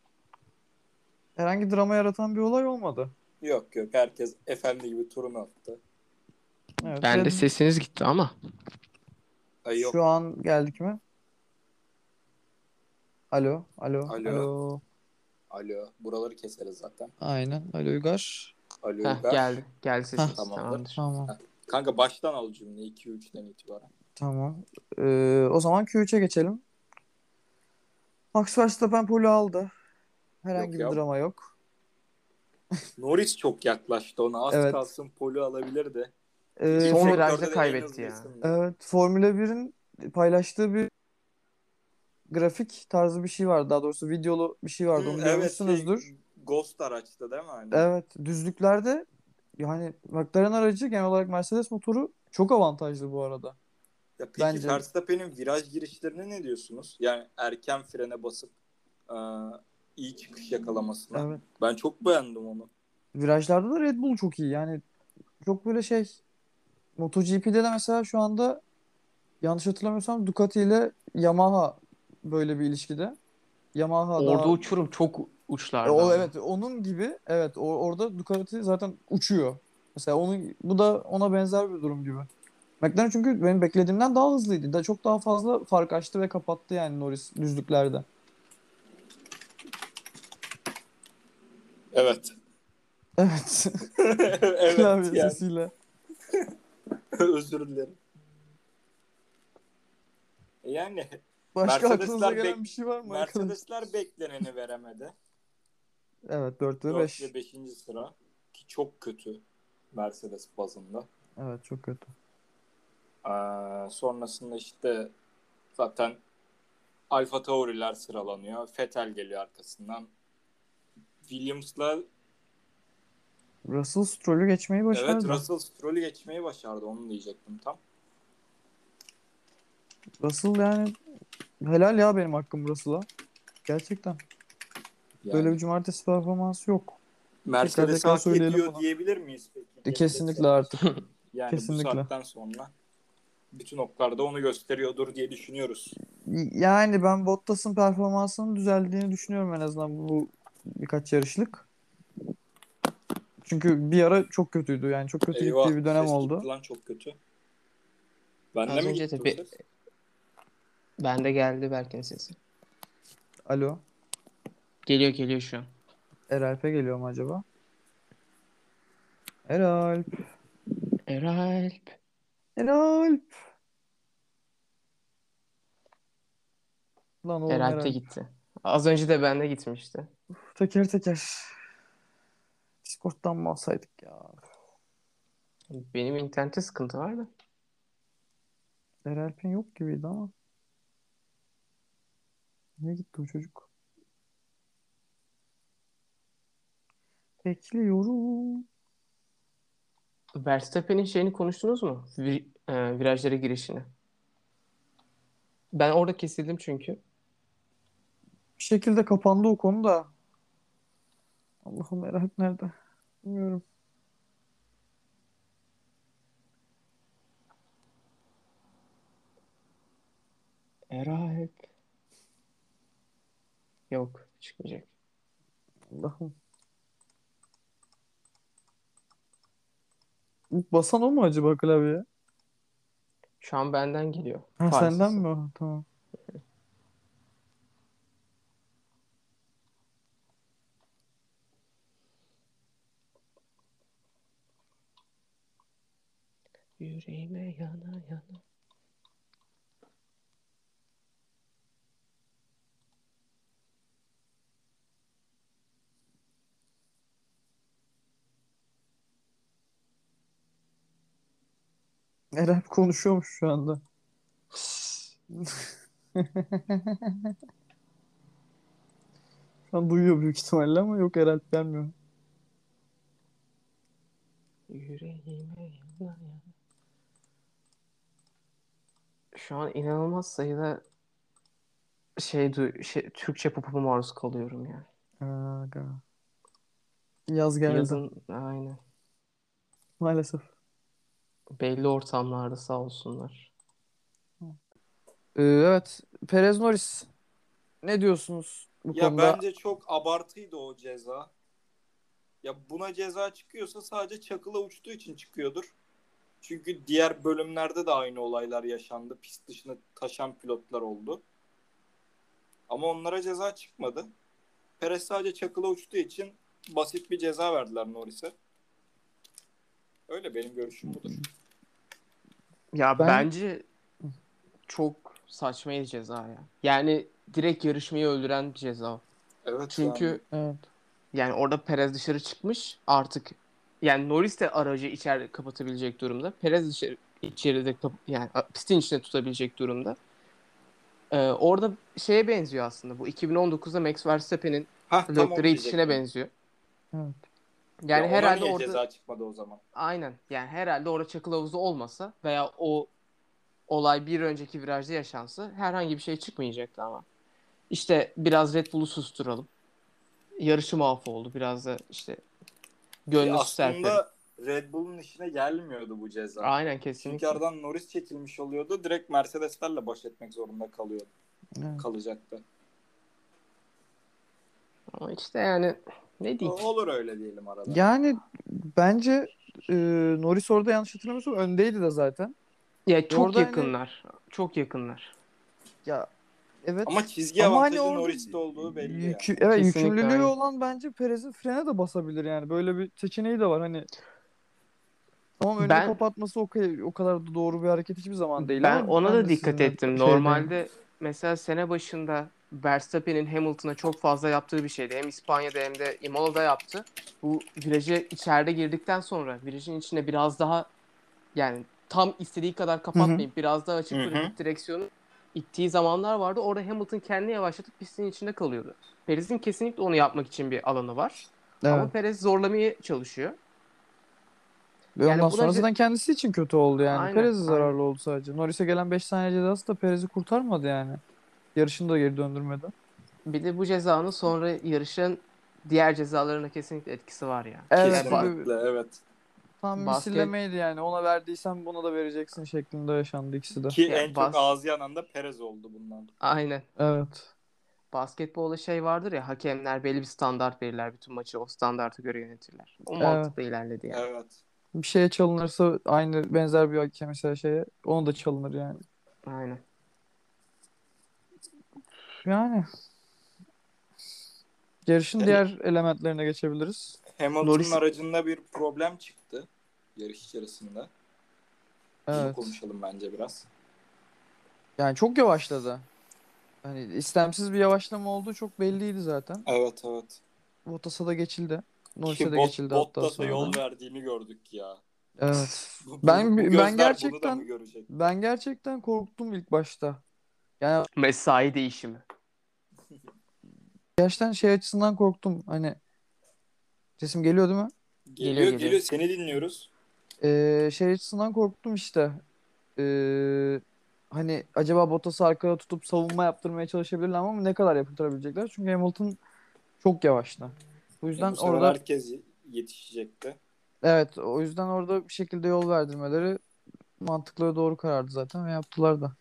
B: herhangi drama yaratan bir olay olmadı.
C: Yok yok herkes efendi gibi turunu attı.
B: Evet,
A: Ben de
B: Red-
A: sesiniz gitti ama.
C: Ay yok.
B: Şu an geldik mi? Alo, alo,
C: Alo.
B: alo.
C: Alo. Buraları keseriz zaten.
B: Aynen, alo Uygar.
C: Alo.
A: Heh,
C: Uygar.
A: geldi. Geldi sesiniz.
C: Heh.
A: Tamamdır.
B: Tamam,
C: Kanka baştan al cümleyi 2-3'ten itibaren.
B: tamam. Ee, o zaman Q3'e geçelim. Max Verstappen pole aldı.
C: Yok
B: Herhangi
C: ya.
B: bir drama yok.
C: Norris çok yaklaştı ona. Az
B: Evet.
C: kalsın poli alabilirdi.
B: Ee,
A: Son
B: for-
A: virajda
C: Sektörde de en
A: kaybetti
C: hızlı
A: ya.
C: isimdi.
B: evet, Formula 1'in paylaştığı bir grafik tarzı bir şey vardı. Daha doğrusu videolu bir şey vardı. Onu
C: Hı,
B: görmüşsünüzdür.
C: şey, Ghost araçta değil mi? Hani?
B: Evet. Düzlüklerde yani McLaren aracı genel olarak Mercedes motoru çok avantajlı bu arada.
C: Ya peki
B: Bence-
C: Verstappen'in viraj girişlerine ne diyorsunuz? Yani erken frene basıp e, iyi çıkış yakalamasına.
B: Evet.
C: Ben çok beğendim onu.
B: Virajlarda da Red Bull çok iyi. Yani çok böyle şey MotoGP'de de mesela şu anda yanlış hatırlamıyorsam Ducati ile Yamaha böyle bir ilişkide. Yamaha daha-
A: Orada uçurum çok uçlarda.
B: E, o
A: ama.
B: evet onun gibi evet o, orada Ducati zaten uçuyor. Mesela onun bu da ona benzer bir durum gibi. McLaren çünkü benim beklediğimden daha hızlıydı. Da çok daha fazla fark açtı ve kapattı yani Norris düzlüklerde.
C: Evet.
B: Evet.
C: evet
B: Klavye
C: yani.
B: sesiyle.
C: Özür dilerim. Yani
B: Başka
C: Mercedesler
B: aklınıza
C: bek-
B: gelen bir şey var mı? arkadaş?
C: Mercedesler bekleneni veremedi.
B: Evet 4 ve
C: 4
B: 5.
C: ve 5. sıra ki çok kötü Mercedes bazında.
B: Evet çok kötü.
C: Ee, sonrasında işte zaten Alfa Tauri'ler sıralanıyor. Vettel geliyor arkasından. Williams'la
B: Russell Stroll'ü geçmeyi
C: evet
B: başardı.
C: Russell Stroll'ü geçmeyi başardı. Onu diyecektim tam.
B: Russell yani helal ya benim hakkım Russell'a. Gerçekten.
C: Yani
B: Böyle bir cumartesi performansı yok.
C: Mercedes
B: tekrar
C: hak
B: söyleyelim
C: ediyor
B: bunu.
C: diyebilir miyiz peki?
B: Kesinlikle artık.
C: Yani
B: kesinlikle.
C: bu saatten sonra bütün oklarda onu gösteriyordur diye düşünüyoruz.
B: Yani ben Bottas'ın performansının düzeldiğini düşünüyorum en azından bu, bu birkaç yarışlık. Çünkü bir ara çok kötüydü yani çok kötü
C: Eyvah,
B: gittiği bir dönem
C: ses
B: oldu.
C: gitti lan çok kötü. Ben
A: Az
C: de mi
A: önce
C: gitti
A: de
C: bu
A: bir-
C: ses?
A: Bende geldi Berk'in sesi.
B: Alo.
A: Geliyor geliyor şu an.
B: Eralp'e geliyor mu acaba? Eralp.
A: Eralp.
B: Eralp. Lan oğlum
A: Eralp de
B: Eralp.
A: gitti. Az önce de bende gitmişti.
B: Teker teker. Discord'dan mı alsaydık ya?
A: Benim internette sıkıntı var da.
B: Eralp'in yok gibiydi ama. Niye gitti o çocuk? Bekliyorum.
A: Verstappen'in şeyini konuştunuz mu? Vir- e, virajlara girişini. Ben orada kesildim çünkü.
B: Bir şekilde kapandı o konu da. Allah'ım Eralp nerede? Bilmiyorum.
A: Eralp. Yok çıkmayacak.
B: Allah'ım. Bu Basan o mu acaba klavyeye?
A: Şu an benden geliyor.
B: Ha,
A: Fark
B: senden
A: sesi.
B: mi? o? Tamam.
A: Yüreğime yana yana.
B: Eralp konuşuyormuş şu anda. şu an duyuyor büyük ihtimalle ama yok Eralp gelmiyor.
A: Yüreğime yana yana. Şu an inanılmaz sayıda şey, du- şey Türkçe pop'a maruz kalıyorum yani.
B: Aga. Yaz geldi
A: Yazın aynen.
B: maalesef.
A: Belli ortamlarda sağ olsunlar.
B: Ee, evet Perez Norris ne diyorsunuz bu
C: Ya
B: konuda?
C: bence çok abartıydı o ceza. Ya buna ceza çıkıyorsa sadece çakıla uçtuğu için çıkıyordur. Çünkü diğer bölümlerde de aynı olaylar yaşandı. Pist dışına taşan pilotlar oldu. Ama onlara ceza çıkmadı. Perez sadece çakıla uçtuğu için basit bir ceza verdiler Norris'e. Öyle benim görüşüm budur.
A: Hmm. Ya
B: Ben-
A: bence çok saçmaydı ceza ya. Yani direkt yarışmayı öldüren bir ceza. o.
C: Evet
A: Çünkü
C: yani.
B: Evet.
A: Yani orada Perez dışarı çıkmış artık. Yani Norris de aracı içeride kapatabilecek durumda. Perez dışarı içeride kap- yani a- pistin içine tutabilecek durumda. Ee, orada şeye benziyor aslında. Bu 2019'da Max Verstappen'in
C: Hah, tam onu
A: Leclerc içine
C: diyecektim.
A: benziyor.
B: Evet.
A: Yani
C: Ya ona
A: herhalde
C: niye
A: orada
C: ceza çıkmadı o zaman?
A: aynen. Yani herhalde orada çakıl havuzu olmasa veya o olay bir önceki virajda yaşansa herhangi bir şey çıkmayacaktı ama. İşte biraz Red Bull'u susturalım. Yarışı mahvoldu. Biraz da işte
C: Ya
A: gönlü serpelim.
C: aslında Red Bull'un işine gelmiyordu bu ceza.
A: Aynen
C: Çünkü
A: kesinlikle.
C: aradan Norris çekilmiş oluyordu. Direkt Mercedes'lerle baş etmek zorunda kalıyor,
B: evet.
C: kalacaktı.
A: Ama işte yani ne diyeyim.
C: Olur öyle diyelim arada.
B: Yani bence e, Norris orada yanlış hatırlamıyorsam öndeydi de zaten.
A: Ya çok
B: Orada hani-
A: yakınlar. Çok yakınlar.
B: Ya evet.
C: Ama çizgi
B: Ama hani
C: avantajı
B: orada
C: Norris'te olduğu belli. yani.
B: Yükü, evet
A: Kesinlikle
B: yükümlülüğü
A: aynı.
B: olan bence Perez'in frene de basabilir yani. Böyle bir seçeneği de var hani. Tamam önünü
A: Ben-
B: kapatması o, ka- o kadar da doğru bir hareket hiçbir zaman değil.
A: ben
B: ama
A: ona da
B: mühendisliğinden
A: dikkat ettim.
B: şey değil.
A: Normalde mesela sene başında Verstappen'in Hamilton'a çok fazla yaptığı bir şeydi. Hem İspanya'da hem de Imola'da yaptı. Bu virajı içeride girdikten sonra virajın içine biraz daha yani tam istediği kadar kapatmayıp biraz daha açık
C: Hı hı.
A: bırakıp direksiyonu ittiği zamanlar vardı. Orada Hamilton kendini yavaşlatıp pistin içinde kalıyordu. Perez'in kesinlikle onu yapmak için bir alanı var.
B: Evet.
A: Ama Perez zorlamaya çalışıyor.
B: Ve
A: yani
B: ondan
A: bu da
B: sonra
A: ce-
B: zaten kendisi için kötü oldu yani.
A: Aynen,
B: Perez'e
A: aynen.
B: zararlı oldu sadece. Norris'e gelen 5 saniye cezası da Perez'i kurtarmadı yani. Yarışını da geri döndürmedi.
A: Bir de bu cezanın sonra yarışın diğer cezalarına kesinlikle etkisi var ya.
B: Evet.
A: Yani
C: Kesinlikle evet.
B: Tam bir
A: Basket-
B: misillemeydi yani. Ona verdiysen buna da vereceksin şeklinde yaşandı ikisi de.
C: Ki
A: Ya,
C: en
A: bas-
C: çok ağzı yanan da Perez oldu bundan.
A: Aynen.
B: Evet.
A: Basketbolda şey vardır ya hakemler belli bir standart verirler. Bütün maçı o standarta göre yönetirler. O mantıkla ilerledi yani.
C: Evet.
B: Bir şeye çalınırsa aynı benzer bir hakeme mesela şeye onu da çalınır yani.
A: Aynen.
B: Yani Yarışın
C: Evet.
B: diğer elementlerine geçebiliriz.
C: Hamilton'ın
A: Norris-
C: aracında bir problem çıktı yarış içerisinde. Bunu
B: Evet.
C: konuşalım bence biraz.
B: Yani çok yavaşladı. Hani istemsiz bir yavaşlama olduğu çok belliydi zaten.
C: Evet evet.
B: Bottas'a da geçildi. Norris'e
C: Ki
B: de
C: Bot- şey
B: geçildi hatta
C: Bottas'a
B: sonra.
C: yol verdiğini gördük ya.
B: Evet.
C: Bu-
B: Ben-
C: bu
B: ben
C: gözler bunu da
B: gerçekten-
C: mı görecek?
B: Ben gerçekten korktum ilk başta. Yani
A: Mesai değişimi.
B: gerçekten şey açısından korktum. Hani sesim geliyor değil mi?
C: Geliyor
A: Geliyor,
C: geliyor.
A: geliyor.
C: Seni dinliyoruz.
B: Ee, şey açısından korktum işte. Ee, hani acaba Bottas'ı arkada tutup savunma yaptırmaya çalışabilirler ama ne kadar yaptırabilecekler? Çünkü Hamilton çok yavaştı. O yüzden
C: Yani bu sefer
B: orada
C: herkes yetişecekti.
B: evet o yüzden orada bir şekilde yol verdirmeleri mantıklı ve doğru karardı zaten ve yaptılar da.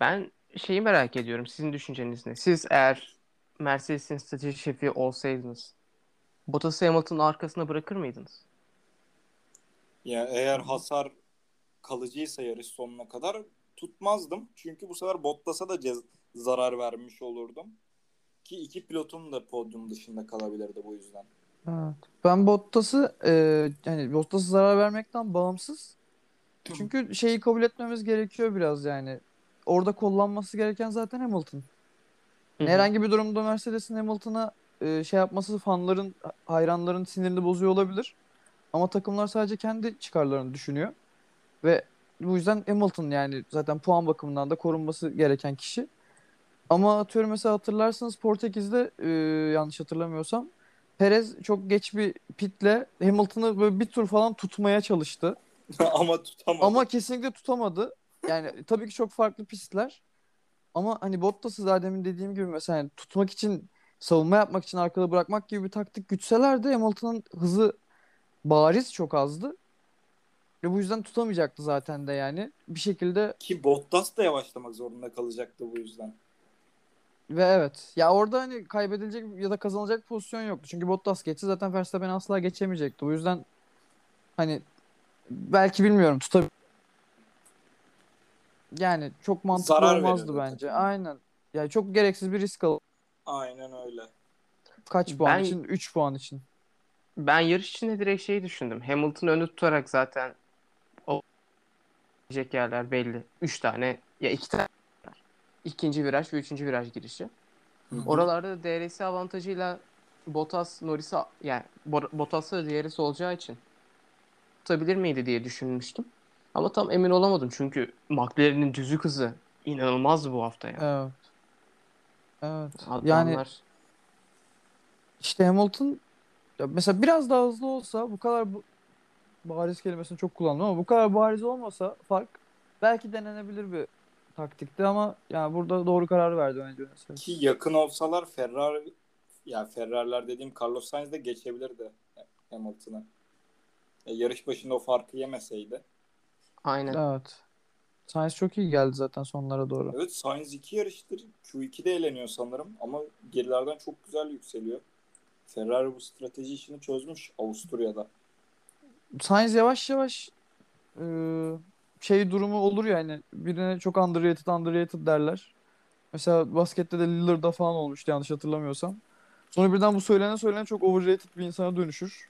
A: Ben şeyi merak ediyorum. Sizin düşünceniz ne? Siz eğer Mercedes'in strateji şefi olsaydınız Bottas'ı Hamilton'ın arkasına bırakır mıydınız?
C: Ya eğer hasar kalıcıysa yarış sonuna kadar tutmazdım. Çünkü bu sefer Bottas'a da cez- zarar vermiş olurdum. Ki iki pilotum da podyum dışında kalabilirdi bu yüzden.
B: Evet. Ben Bottas'ı e, hani Bottas'a zarar vermekten bağımsız. Çünkü şeyi kabul etmemiz gerekiyor biraz yani. Orada kullanması gereken zaten Hamilton.
A: Hı hı.
B: Herhangi bir durumda Mercedes'in Hamilton'a e, şey yapması fanların, hayranların sinirini bozuyor olabilir. Ama takımlar sadece kendi çıkarlarını düşünüyor. Ve bu yüzden Hamilton yani zaten puan bakımından da korunması gereken kişi. Ama atıyorum mesela hatırlarsanız Portekiz'de e, yanlış hatırlamıyorsam Perez çok geç bir pitle Hamilton'ı böyle bir tur falan tutmaya çalıştı.
C: Ama tutamadım.
B: Ama kesinlikle tutamadı. Yani tabii ki çok farklı pistler. Ama hani Bottas'ı daha demin dediğim gibi mesela yani tutmak için savunma yapmak için arkada bırakmak gibi bir taktik gütselerdi Hamilton'ın hızı bariz çok azdı. Ve bu yüzden tutamayacaktı zaten de yani. Bir şekilde
C: Ki Bottas da yavaşlamak zorunda kalacaktı bu yüzden.
B: ve evet. Ya orada hani kaybedilecek ya da kazanılacak pozisyon yoktu. Çünkü Bottas geçti zaten Verstappen asla geçemeyecekti. Bu yüzden hani belki bilmiyorum tutab yani çok mantıklı
C: Zarar
B: olmazdı
C: veriyordu
B: bence.
C: takıma.
B: Aynen. Yani çok gereksiz bir risk al.
C: Aynen öyle.
B: Kaç puan
A: Ben-
B: için? 3 puan için.
A: Ben yarış içinde direkt şeyi düşündüm. Hamilton'ı önü tutarak zaten o gidecek yerler belli. Üç tane ya iki tane var. İkinci viraj ve üçüncü viraj girişi. Oralarda da DRS avantajıyla Bottas Norris'e yani Bo- Bottas'a DRS olacağı için tutabilir miydi diye düşünmüştüm. Ama tam emin olamadım çünkü McLaren'in düzlük hızı inanılmaz bu hafta ya.
B: Evet. Evet.
A: Yani
B: Yani işte Hamilton ya mesela biraz daha hızlı olsa bu kadar bu, bariz kelimesini çok kullandım ama bu kadar bariz olmasa fark belki denenebilir bir taktikti ama yani burada doğru karar verdi bence. mesela.
C: Ki yakın olsalar Ferrari ya Ferrari'ler dediğim Carlos Sainz de geçebilirdi Hamilton'a. Ya yarış başında o farkı yemeseydi.
A: aynen.
B: Evet. Sainz çok iyi geldi zaten sonlara doğru.
C: Evet Sainz 2 yarıştır. Q2'de eğleniyor sanırım ama gerilerden çok güzel yükseliyor. Ferrari bu strateji işini çözmüş Avusturya'da.
B: Sainz yavaş yavaş e, şey durumu olur yani birine çok underrated underrated derler. Mesela baskette de Lillard'a falan olmuştu yanlış hatırlamıyorsam. Sonra birden bu söylene söylene çok overrated bir insana dönüşür.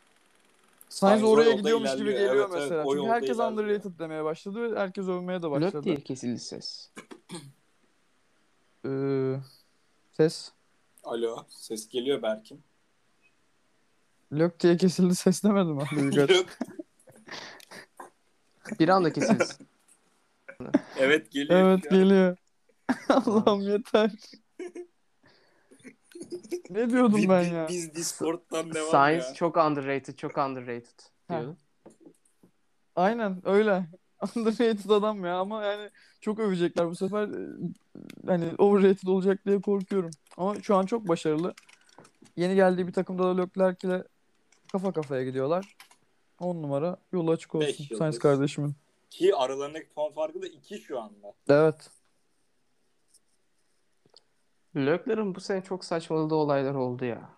B: Sainz
C: Sainz o
B: oraya
C: yolda
B: gidiyormuş gibi
C: ilerliyor.
B: geliyor
C: Evet, evet,
B: mesela.
C: o
B: Çünkü
C: yolda
B: herkes
C: ilerliyor.
B: underrated demeye başladı ve herkes övmeye de
A: Löp
B: başladı.
A: diye kesildi ses.
B: Ee, ses.
C: Alo ses geliyor Berk'im.
B: Lök diye kesildi ses demedim abi.
C: Yok.
A: Bir anda kesildi.
C: evet geliyor.
B: Evet
C: Ya.
B: geliyor. Allah'ım yeter. ne diyordum
C: Biz-
B: ben
C: biz-
B: ya?
C: Biz Discord'dan devam
A: Science
C: ya.
A: çok underrated, çok underrated
B: Ha.
A: diyor.
B: Aynen öyle. Underrated adam ya ama yani çok övecekler bu sefer. Ee, Hani overrated olacak diye korkuyorum. Ama şu an çok başarılı. Yeni geldiği bir takımda da Leclerc ile kafa kafaya gidiyorlar. 10 numara yolu açık
C: Beş
B: olsun
C: yıldız.
B: Sainz kardeşimin.
C: Ki aralarındaki puan farkı da 2 şu anda.
B: Evet.
A: Lökler'in bu sene çok saçmaladığı olaylar oldu ya.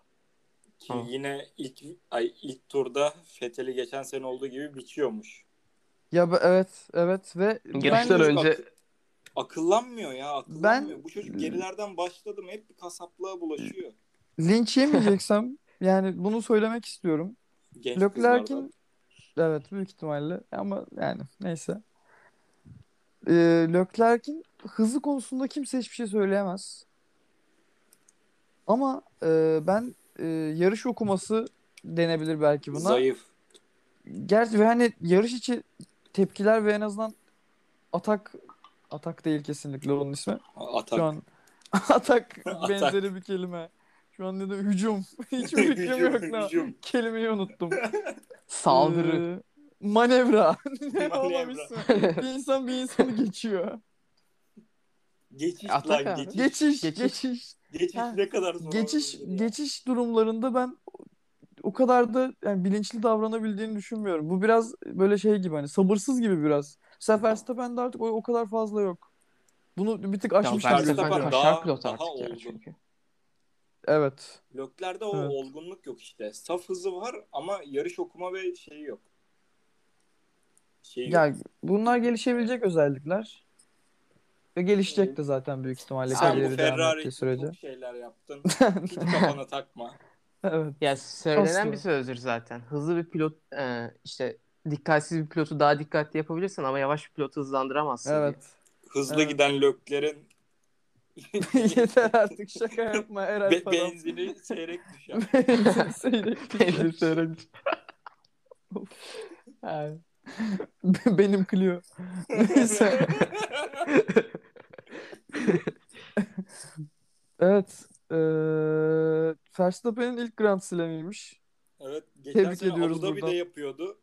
C: Ki
A: Tamam.
C: yine ilk ay ilk turda Fethel'i geçen sene olduğu gibi biçiyormuş.
B: Ya be- evet evet ve
A: Yarıştan
B: bence-
A: önce
C: Akıllanmıyor ya akıllanmıyor. Bu çocuk gerilerden başladı mı hep bir kasaplığa bulaşıyor.
B: Linç yemeyeceksem yani bunu söylemek istiyorum.
C: Genç kızlardan.
B: Leclerc'in evet büyük ihtimalle ama yani neyse. Ee, Leclerc'in hızı konusunda kimse hiçbir şey söyleyemez. Ama e, ben e, yarış okuması denebilir belki buna.
C: Zayıf.
B: Gerçi ve hani yarış içi tepkiler ve en azından atak atak değil kesinlikle onun ismi.
C: Atak.
B: Şu an atak
C: Atak.
B: benzeri bir kelime. Şu an dedim hücum. Hiçbir fikrim yok.
C: Hücum,
B: ne-
C: hücum.
B: Kelimeyi unuttum.
A: Saldırı.
B: Ee, manevra. ne
C: Manevra.
B: olabilsin? Bir insan bir insanı geçiyor.
C: Geçiş
A: Atak
C: lan
A: abi.
C: geçiş.
B: Geçiş,
A: Geçiş.
B: geçiş. Geçiş,
C: Geçiş
B: Ha.
C: ne kadar zor. şey.
B: geçiş,
C: olabilir ya.
B: durumlarında ben o kadar da yani bilinçli davranabildiğini düşünmüyorum. Bu biraz böyle şey gibi hani sabırsız gibi biraz. Mesela Verstappen'de artık o, o kadar fazla yok. Bunu bir tık aşmış gibi
C: Verstappen
B: gözüküyor.
C: daha-
A: kaşar pilot
C: daha
A: artık ya
C: olgun.
A: çünkü.
B: Evet.
C: Lökler'de o
B: Evet.
C: olgunluk yok işte. Saf hızı var ama yarış okuma ve şeyi yok. Şeyi
B: Yani bunlar gelişebilecek özellikler. Ve gelişecek de zaten büyük ihtimalle
C: yok. Sen bu
B: kariyeri devam
C: Ee, Ferrari
B: ettiği
C: için
B: sürece.
C: çok şeyler yaptın. Hiç kafana takma.
B: Evet.
A: Ya söylenen
B: Aslında.
A: bir sözdür zaten. Hızlı bir pilot e, işte dikkatsiz bir pilotu daha dikkatli yapabilirsin ama yavaş bir pilotu hızlandıramazsın.
B: Evet.
C: Hızlı
B: Evet.
C: giden Lökler'in
B: Yeter artık şaka yapma Eren
C: be-
B: falan.
C: benzini seyrek düşer.
B: Benzin seyrek
A: diye.
B: düşer. Yani. Be- Benim Clio. Neyse. evet. Ee, Verstappen'in ilk Grand Slam'iymiş.
C: evet, geçen
B: Tebrik
C: sene
B: ediyoruz
C: Abu Dhabi'de
B: buradan.
C: yapıyordu.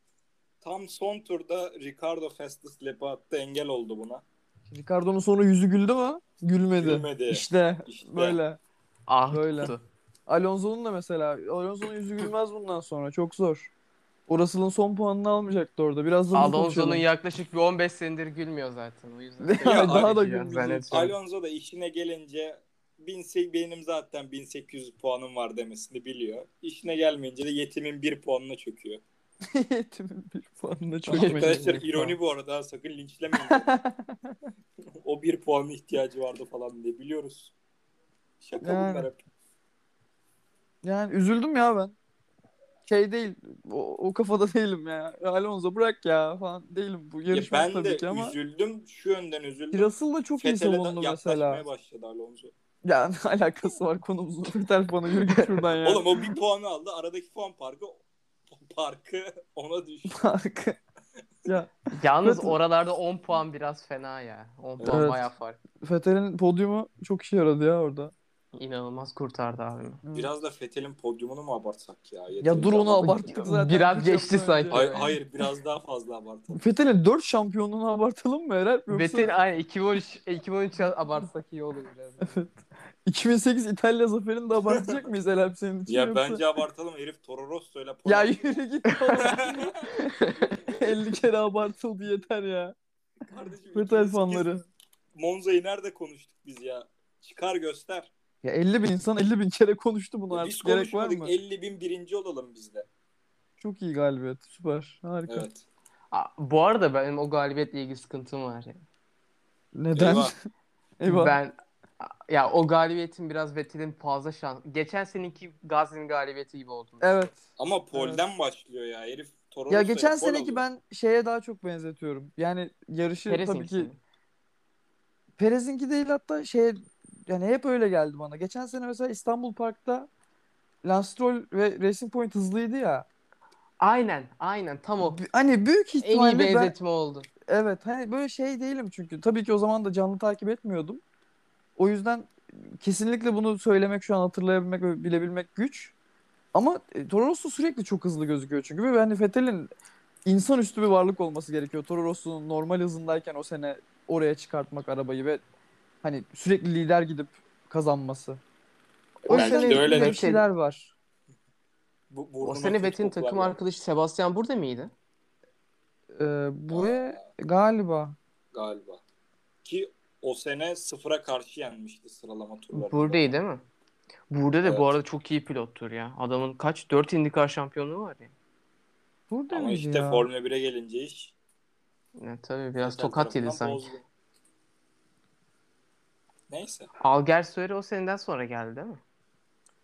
C: Tam son turda Ricardo fastest lap'e attı. Engel oldu buna.
B: Ricardo'nun sonra yüzü güldü mü? Gülmedi.
C: Gülmedi.
B: İşte,
C: İşte.
B: böyle.
A: ah
B: Böyle.
A: tuttu.
B: Alonso'nun da mesela. Alonso'nun yüzü gülmez bundan sonra. Çok zor. O Russell'ın son puanını almayacaktı orada. Biraz da bunu
A: Alonso'nun
B: konuşalım.
A: yaklaşık bir 15 senedir gülmüyor zaten. O yüzden.
B: Yani daha da
A: Belki ya,
B: gülmeyecek.
A: zannetmiyorum.
C: Alonso da işine gelince 1800 benim zaten 1800 puanım var demesini biliyor. İşine gelmeyince de yetimin bir puanına çöküyor.
B: Yetimin bir puanına çok
C: Arkadaşlar ironi bu arada ha, sakın linçlemeyin. o bir puanın ihtiyacı vardı falan diye biliyoruz. Şaka
B: Yani.
C: bunlar hep.
B: Yani üzüldüm ya ben. Şey değil. O, o kafada değilim ya. Alonso bırak ya falan değilim. Bu
C: Ya
B: yarışma
C: ben
B: tabii
C: de
B: ki ama.
C: üzüldüm. Şu yönden üzüldüm.
B: Russell da çok iyi savundu
C: Fetel'e
B: mesela.
C: yaklaşmaya başladı Alonso.
B: Ya ne alakası var konumuzun. Fetel bana yürü git şuradan ya.
C: Oğlum o bir puanı aldı. Aradaki puan farkı parkı ona düştü.
B: Farkı. ya
A: Yalnız
B: Zaten-
A: oralarda 10 puan biraz fena ya. 10 puan
B: Evet.
A: bayağı fark.
B: Fetel'in podyumu çok işe yaradı ya orada.
A: İnanılmaz kurtardı abimi.
C: Biraz da Fetel'in podyumunu mu abartsak ya?
B: Ya dur
C: Yeterince
B: onu
C: abarttık.
B: abarttık zaten.
A: Biraz
B: Üç
A: geçti
B: hafta önce.
A: sanki.
C: Hayır, hayır biraz daha fazla abartalım.
B: Fetel'in 4 şampiyonluğunu abartalım mı Erel? Yoksa
A: Betel aynı 2013 2013 abartsak iyi olur biraz.
B: 2008 İtalya zaferini de abartacak mıyız Erel senin için?
C: Ya
B: yoksa-
C: bence abartalım herif Toro Rosso ile
B: Ya
C: Polonya-
B: yürü git oğlum. 50 kere abartıldı yeter ya.
C: Kardeşim,
B: Fetel
C: 2008
B: fanları.
C: Monza'yı nerede konuştuk biz ya? Çıkar göster.
B: Ya 50 bin insan 50 bin kere konuştu bunu
C: biz
B: artık. Gerek var
C: konuşmadık
B: mı?
C: 50 bin birinci olalım biz de.
B: Çok iyi galibiyet. Süper. Harika.
C: Evet.
A: Aa, bu arada benim o galibiyetle ilgili sıkıntım var ya.
B: Neden?
C: Eyvah.
B: Eyvah.
A: Ben ya o galibiyetin biraz Vettel'in fazla şans. Geçen seneki Gazli'nin galibiyeti gibi oldu.
B: Evet.
C: Ama polden başlıyor ya herif Toro
B: Ya
C: Rosso'ya
B: geçen
C: pol
B: seneki
C: alıyor.
B: ben şeye daha çok benzetiyorum. Yani yarışı
A: Perez'in
B: şey, tabii ki
A: ikisini.
B: Perez'inki değil hatta şey yani hep öyle geldi bana. Geçen sene mesela İstanbul Park'ta Lance Stroll ve Racing Point hızlıydı ya.
A: Aynen, aynen tam o.
B: Hani büyük
A: En iyi
B: ihtimalle ben
A: benzetme oldu.
B: Evet hani böyle şey değilim çünkü. Tabii ki o zaman da canlı takip etmiyordum. O yüzden kesinlikle bunu söylemek şu an hatırlayabilmek ve bilebilmek güç. Ama e, Toro Rosso sürekli çok hızlı gözüküyor çünkü. Ve hani Vettel'in insanüstü bir varlık olması gerekiyor. Toro Rosso'nun normal hızındayken o sene oraya çıkartmak arabayı ve hani sürekli lider gidip kazanması. O
A: Belki
B: yüzden
A: de
C: öyle
B: bir
A: de-
B: şeyler var.
C: Bu,
A: O
C: burnuma
A: sene
C: kötü
A: Vettel'in
C: kokular
A: takım
C: geldi.
A: arkadaşı Sebastian burada mıydı?
B: Ee, buraya galiba
C: Galiba. Ki o sene sıfıra karşı yenmişti sıralama turlarında.
A: Buradaydı değil mi? Burada da bu
C: Evet.
A: arada çok iyi pilottur ya. Adamın kaç? 4 IndyCar şampiyonluğu var ya.
B: burada
C: Ama
B: mıydı
C: işte
B: ya?
C: Formula 1'e gelince iş
A: Yani tabii biraz
C: Vettel
A: tokat yedi
C: tarafından
A: sanki.
C: bozdu. Neyse.
A: Algersweri o seneden sonra geldi değil mi?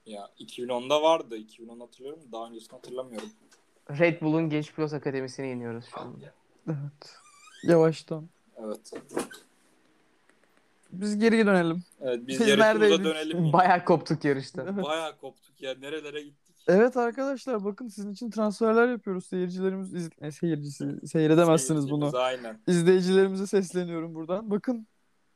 C: Ya 2010'da vardı. 2010 hatırlıyorum. Daha öncesini hatırlamıyorum.
A: Red Bull'un Genç Pilots Akademisi'ne iniyoruz şu an.
B: Evet. Yavaştan.
C: Evet.
B: Biz geri dönelim.
C: Evet biz
B: Biz
C: yarışımıza
B: neredeydik?
C: dönelim. yine.
A: Bayağı koptuk yarışta.
C: Bayağı koptuk ya. Nerelere gittik?
B: Evet arkadaşlar bakın sizin için transferler yapıyoruz. Seyircilerimiz iz... e, seyircisi seyredemezsiniz bunu.
C: Seyircimiz, Aynen.
B: İzleyicilerimize sesleniyorum buradan. Bakın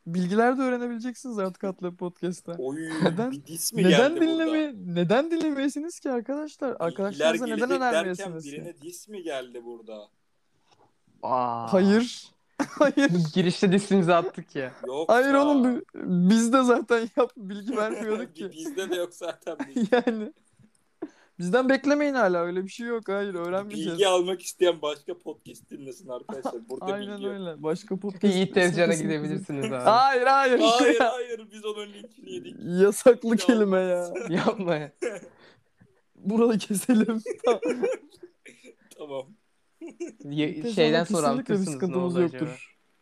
B: bilgiler de öğrenebileceksiniz artık Atlab Podcast'ta.
C: Oy,
B: Neden-
C: bir dis mi
B: Neden
C: geldi burada?
B: dinleme neden dinlemeyesiniz ki arkadaşlar? Arkadaşlarınıza
C: İlgiler
B: neden
C: gelecek derken
B: önermiyorsunuz?
C: Birine dis mi geldi burada?
A: Aa.
B: Hayır. Hayır.
A: Girişte dissimizi attık ya.
C: Yok
B: Hayır
C: ya.
B: oğlum bi- biz de zaten yap bilgi vermiyorduk ki.
C: Bizde de yok zaten. bilgi.
B: yani bizden beklemeyin hala öyle bir şey yok. Hayır öğrenmeyeceğiz.
C: Bilgi almak isteyen başka podcast dinlesin arkadaşlar. Burada
B: Aynen
C: bilgi yok.
B: öyle. Başka podcast.
A: Yiğit Tezcan'a
B: kesin-
A: gidebilirsiniz abi.
B: Hayır hayır.
C: Hayır hayır biz onun linkini yedik.
B: Yasaklı
C: Bilgi
B: kelime ya.
A: Yapma ya.
B: Buraları keselim.
C: Tamam.
A: Ye-
B: Tezcan'a
A: Şey, Şeyden sonra
B: kesinlikle bir
A: anlatırsınız ne
B: sıkıntımız
A: oldu acaba.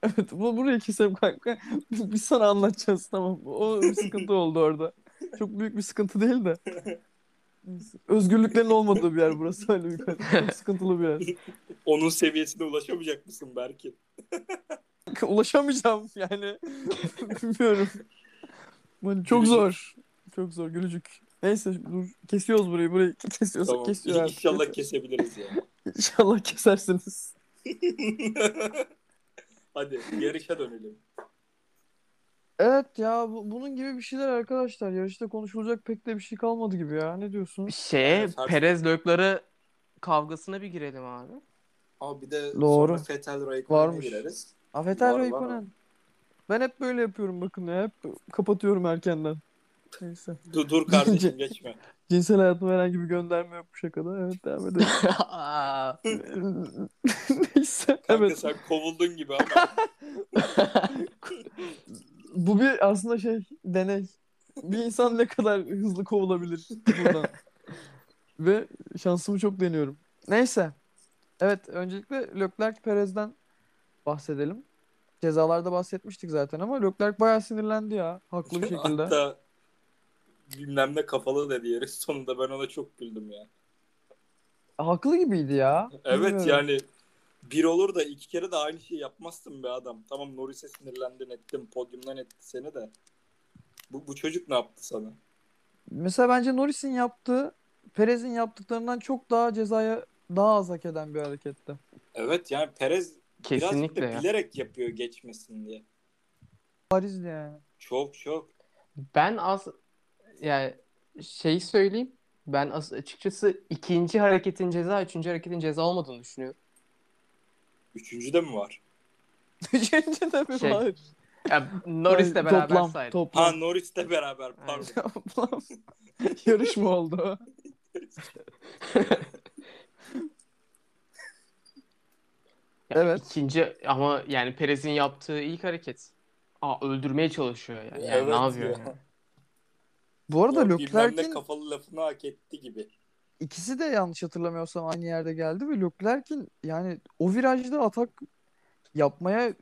B: Evet bu burayı keselim kanka. Biz sana anlatacağız tamam. mı? O bir sıkıntı oldu orada. Çok büyük bir sıkıntı değil de. Neyse. Özgürlüklerin olmadığı bir yer burası öyle bir Çok sıkıntılı bir yer.
C: Onun seviyesine ulaşamayacak mısın belki?
B: Ulaşamayacağım yani. Bilmiyorum. Bu çok zor. Çok zor gülücük. Neyse dur kesiyoruz burayı. Burayı kesiyorsak
C: Tamam.
B: kesiyor artık.
C: İnşallah kesebiliriz ya.
B: İnşallah kesersiniz.
C: Hadi yarışa dönelim.
B: Evet ya bu- bunun gibi bir şeyler arkadaşlar. Yarışta konuşulacak pek de bir şey kalmadı gibi ya. Ne
C: şey
B: diyorsunuz?
A: Şeye
C: Evet, her-
A: Perez Lökleri kavgasına bir girelim abi.
C: Ama bir de
B: Doğru.
C: sonra Fetel Raikkonen'e
B: Varmış.
C: gireriz.
B: Afeter ve
C: Var, var
B: Ikonen. Ben hep böyle yapıyorum bakın ya. Hep kapatıyorum erkenden. Neyse.
C: Dur, dur kardeşim geçme.
B: Cinsel hayatıma herhangi bir gönderme yok bu şakada. Evet devam edelim.
A: Aa,
B: Neyse.
C: Kanka
B: evet.
C: sen kovuldun gibi ama.
B: Bu bir aslında şey deney. Bir insan ne kadar hızlı kovulabilir buradan. Ve şansımı çok deniyorum. Neyse. Evet öncelikle Leclerc Perez'den bahsedelim. Cezalarda bahsetmiştik zaten ama Leclerc bayağı sinirlendi ya. Haklı bir şekilde.
C: Hatta bilmem ne kafalı dedi yarış sonunda ben ona çok güldüm ya.
B: Haklı gibiydi ya.
C: Evet
B: Bilmiyorum.
C: yani bir olur da iki kere de aynı şeyi yapmazsın be adam. Tamam Norris'e sinirlendin ettim podyumdan etti seni de. Bu, bu çocuk ne yaptı sana?
B: Mesela bence Norris'in yaptığı Perez'in yaptıklarından çok daha cezaya daha az hak eden bir hareketti.
C: Evet yani Perez
A: kesinlikle
C: birazcık da
A: ya.
C: bilerek yapıyor geçmesin diye.
B: Pariz'di yani.
C: Çok çok.
A: Ben az yani şey söyleyeyim. Ben as- açıkçası ikinci hareketin ceza, üçüncü hareketin ceza olmadığını düşünüyorum.
C: Üçüncü de mi var?
B: Üçüncü de mi
A: Şey,
B: var?
A: Ya Norris'le
B: Hayır,
A: beraber
B: toplam,
A: saydım.
C: Ha
B: Toplam.
C: Norris'le beraber pardon.
B: Toplam. Yarışma oldu.
A: Ya
B: Evet.
A: İkinci ama yani Perez'in yaptığı ilk hareket. Aa öldürmeye çalışıyor yani. Yani ne
C: Evet
A: yapıyor?
C: ya.
A: yani?
B: Bu arada
C: O bilmem ne
B: Leclerc'in
C: kafalı lafını hak etti gibi.
B: ikisi de yanlış hatırlamıyorsam aynı yerde geldi ve Leclerc'in yani o virajda atak yapmaya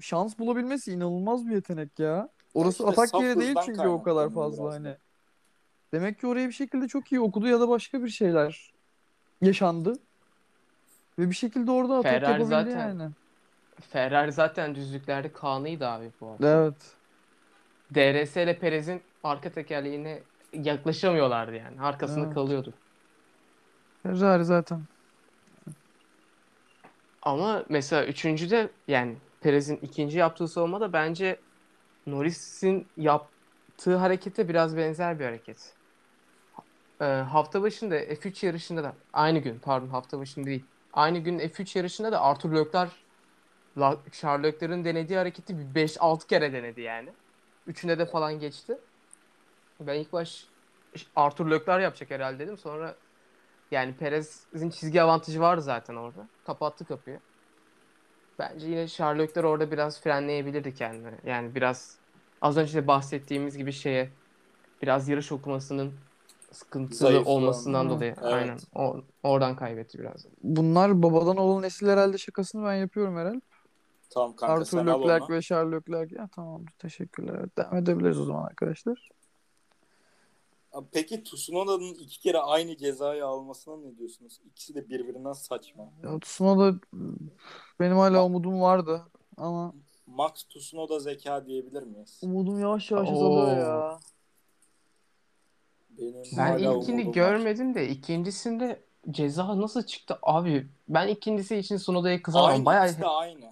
B: şans bulabilmesi inanılmaz bir yetenek ya. Orası
C: Ya işte
B: atak
C: saf
B: yeri değil
C: hızdan
B: çünkü o kadar
C: kaynaklanıyor
B: fazla
C: biraz da.
B: hani. Demek ki oraya bir şekilde çok iyi okudu ya da başka bir şeyler yaşandı. Ve bir şekilde orada atak
A: Ferrari
B: yapabildi
A: zaten-
B: yani.
A: Ferrari zaten düzlüklerde kanıydı abi bu arada.
B: Evet.
A: DRS ile Perez'in arka tekerleğine yaklaşamıyorlardı yani. Arkasında
B: Evet.
A: kalıyordu.
B: Ferrari zaten.
A: Ama mesela üçüncüde yani Perez'in ikinci yaptığı savunma da bence Norris'in yaptığı harekete biraz benzer bir hareket. Ee, hafta başında F3 yarışında da aynı gün pardon hafta başında değil. Aynı gün F3 yarışında da Arthur Leclerc La- Charles Leclerc'in denediği hareketi bir 5-6 kere denedi yani. Üçünde de falan geçti. Ben ilk baş Arthur Leclerc yapacak herhalde dedim. Sonra yani Perez'in çizgi avantajı var zaten orada. Kapattı kapıyı. Bence yine Sherlockler orada biraz frenleyebilirdi kendini. Yani biraz az önce de bahsettiğimiz gibi şeye biraz yarış okumasının sıkıntılı
C: Zayıf
A: olmasından
B: olan.
A: dolayı.
C: Evet.
A: Aynen. O- oradan kaybetti biraz.
B: Bunlar babadan oğul nesil herhalde şakasını ben yapıyorum herhalde.
C: Tamam kanka
B: Arthur
C: sen al onu.
B: Leclerc ve Charles Leclerc. Ya tamam teşekkürler. Evet, Devam edebiliriz o zaman arkadaşlar.
C: Abi Peki Tsunoda'nın iki kere aynı cezayı almasına ne diyorsunuz? İkisi de birbirinden saçma.
B: Ya, Tsunoda benim hala umudum vardı ama
C: Max Tsunoda zeka diyebilir miyiz?
B: umudum yavaş yavaş
A: Oo.
B: azalıyor ya.
C: Benim
A: Ben
C: hala
A: ilkini
C: umudum var.
A: görmedim de ikincisinde ceza nasıl çıktı abi? Ben ikincisi için Sunoda'ya kızamam.
C: Aynı,
A: Bayağı
C: ikisi de aynı.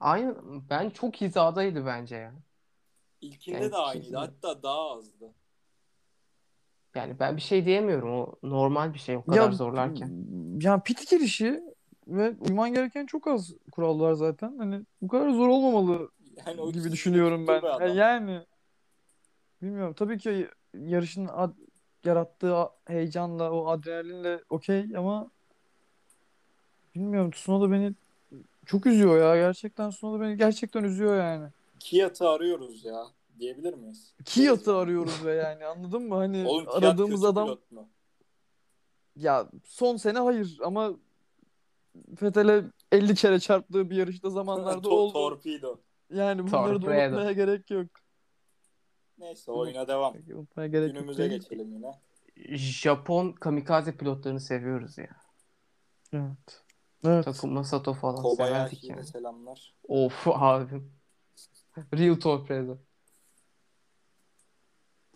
A: aynı ben çok hizadaydı bence ya.
C: İlkinde
A: Yani
C: de aynıydı.
A: ikisinde.
C: Hatta daha azdı.
A: Yani ben bir şey diyemiyorum. O normal bir şey o kadar zorlarken.
B: hmm, Ya pit girişi ve uyman gereken çok az kurallar zaten. Hani bu kadar zor olmamalı
C: Yani o
B: gibi
C: ikisini
B: düşünüyorum
C: tuttu
B: ben.
C: be adam.
B: Yani, yani bilmiyorum. Tabii ki yarışın ad- yarattığı a- heyecanla, o adrenalinle okey ama bilmiyorum. Tsunoda beni çok üzüyor ya. Gerçekten Tsunoda beni gerçekten üzüyor yani.
C: Kiat'ı arıyoruz ya. Diyebilir miyiz?
B: Kiyot'u arıyoruz ve yani anladın mı? Hani
C: Oğlum Kiat
B: aradığımız
C: kötü
B: adam
C: pilot mu?
B: ya son sene hayır ama Fetel'e 50 kere çarptığı bir yarışta zamanlarda
C: To-
B: oldu.
C: Torpido.
B: yani bunları da
A: Torpedo.
B: unutmaya gerek yok.
C: Neyse oyuna devam.
B: Unutmaya gerek yok
C: Günümüze
B: değil.
C: geçelim yine.
A: Japon kamikaze pilotlarını seviyoruz ya.
B: Evet. Evet.
A: Takuma Sato falan severdik
C: Kobayashi'ye
A: yani.
C: de selamlar.
A: Of abim. Real torpedo.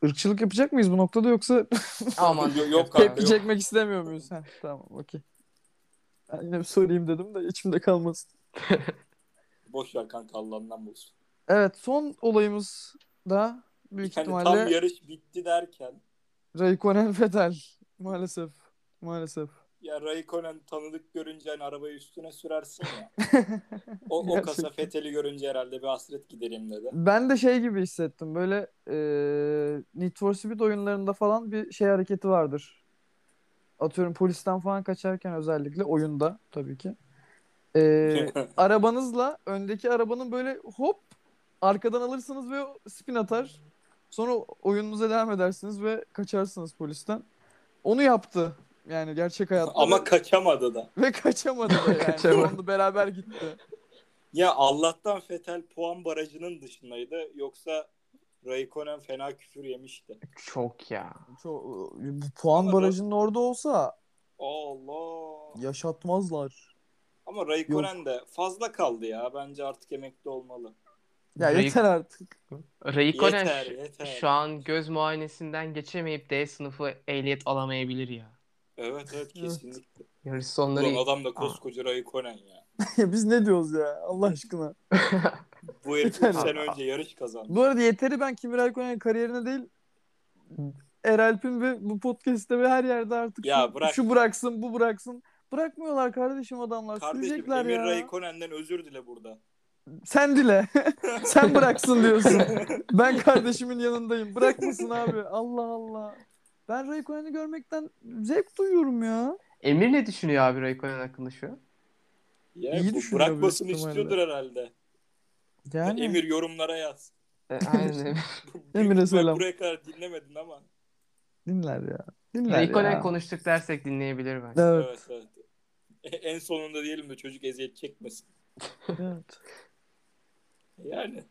B: Irkçılık yapacak mıyız bu noktada yoksa
A: Aman
C: Yok- yok
A: kanka.
C: kanka.
B: tepki çekmek istemiyor muyuz? Heh, tamam okey. Ben yine bir sorayım dedim de içimde kalmasın.
C: Boş ver kanka Allah'ından bulsun.
B: Evet son olayımız da büyük
C: Yani Hani tam
B: ihtimalle
C: yarış bitti derken
B: Raikkonen Vettel maalesef. Maalesef.
C: ya Raikkonen tanıdık görünce hani arabayı üstüne sürersin ya. o, o
B: Gerçekten.
C: kasa Fethel'i görünce herhalde bir hasret giderim dedi.
B: Ben de şey gibi hissettim. Böyle e, Need for Speed oyunlarında falan bir şey hareketi vardır. Atıyorum polisten falan kaçarken özellikle oyunda tabii ki. E, arabanızla öndeki arabanın böyle hop arkadan alırsınız ve spin atar. Sonra oyununuza devam edersiniz ve kaçarsınız polisten. Onu yaptı. Yani gerçek hayatta.
C: Ama
B: ve,
C: kaçamadı da.
B: ve kaçamadı da yani.
A: Kaçamadı.
B: Onu beraber gitti.
C: Ya Allah'tan Fethel puan barajının dışındaydı. Yoksa Raikkonen fena küfür yemişti.
A: Çok ya.
B: Çok, e, bu puan
C: Ama-
B: barajının orada olsa
C: Allah.
B: yaşatmazlar.
C: Ama Raikkonen de fazla kaldı ya. Bence artık emekli olmalı.
B: Ya
A: Ray-
B: yeter artık.
A: Raikkonen
C: Yeter,
A: şu-
C: yeter.
A: şu an göz muayenesinden geçemeyip D sınıfı ehliyet alamayabilir ya.
C: Evet evet kesinlikle.
A: Yarış sonları
C: Ulan adam da koskoca Raikkonen ya.
B: Biz ne diyoruz ya Allah aşkına.
C: Bu herif 3
B: Yeter.
C: sene önce yarış kazandı.
B: Bu arada yeteri ben Kimi Raikkonen'in kariyerine değil Eralp'in ve bu podcast'te ve her yerde artık
C: Ya
B: şu,
C: bırak.
B: şu bıraksın bu bıraksın. Bırakmıyorlar kardeşim adamlar.
C: Kardeşim
B: Sürecekler
C: Emir
B: ya.
C: Raikkonen'den özür dile burada.
B: Sen dile. Sen bıraksın diyorsun. ben kardeşimin yanındayım. Bırakmasın abi. Allah Allah. Ben Raikkonen'i görmekten zevk duyuyorum ya.
A: Emir ne düşünüyor abi Raikkonen hakkında şu an?
C: Ya
B: İyi
C: bu
B: düşünüyor
C: bırakmasını
B: büyük ihtimalle.
C: istiyordur herhalde.
B: Yani.
C: Emir yorumlara yaz.
A: E, aynen Emir.
B: Emir'e
C: Büyük ihtimal
B: selam.
C: Buraya kadar dinlemedin ama.
B: Dinler ya. Dinler
A: Raikkonen
B: ya.
A: konuştuk dersek dinleyebilir bence.
B: Evet.
C: Evet evet. E- En sonunda diyelim de çocuk eziyet çekmesin.
B: evet.
C: Yani.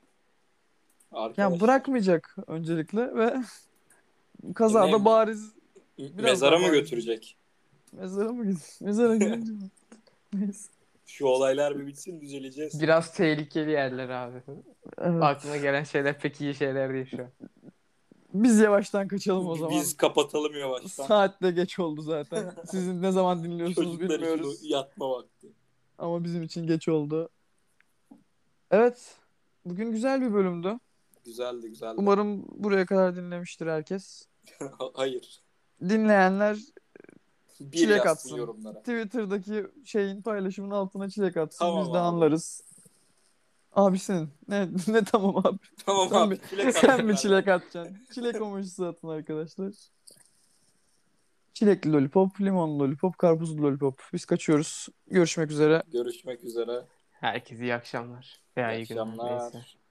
B: Yani
C: Arkadaş,
B: bırakmayacak öncelikle ve kazada
C: Önemli.
B: bariz biraz
C: mezara
B: daha-
C: mı götürecek?
B: mezara mı gidin? Mezara gidince mi? Neyse.
C: Şu olaylar bir bitsin düzeleceğiz.
A: Biraz tehlikeli yerler abi.
B: Evet.
A: Aklına gelen şeyler pek iyi şeyler değil şu an.
B: Biz yavaştan kaçalım o zaman.
C: Biz kapatalım yavaştan.
B: Saat de geç oldu zaten. Sizin ne zaman dinliyorsunuz
C: Çocuklar
B: bilmiyoruz.
C: için yatma vakti.
B: Ama bizim için geç oldu. Evet. Bugün güzel bir bölümdü.
C: Güzeldi güzeldi.
B: Umarım buraya kadar dinlemiştir herkes.
C: Hayır.
B: Dinleyenler
C: Bir
B: Çilek
C: yazsın
B: atsın.
C: yorumlara.
B: Twitter'daki şeyin paylaşımın altına çilek atsın.
C: Tamam
B: biz de
C: abi.
B: anlarız. Abisin. Ne, ne tamam abi.
C: Tamam
B: Sen
C: abi.
B: mi-
C: Çilek
B: Sen
C: atsınlar.
B: mi çilek atacaksın? Çilek omurcusu atın arkadaşlar. Çilekli lollipop, limonlu lollipop, karpuzlu lollipop. Biz kaçıyoruz. Görüşmek üzere.
C: Görüşmek üzere.
A: Herkese iyi akşamlar. Veya
C: İyi
A: iyi günler.
C: akşamlar.
A: Neyse.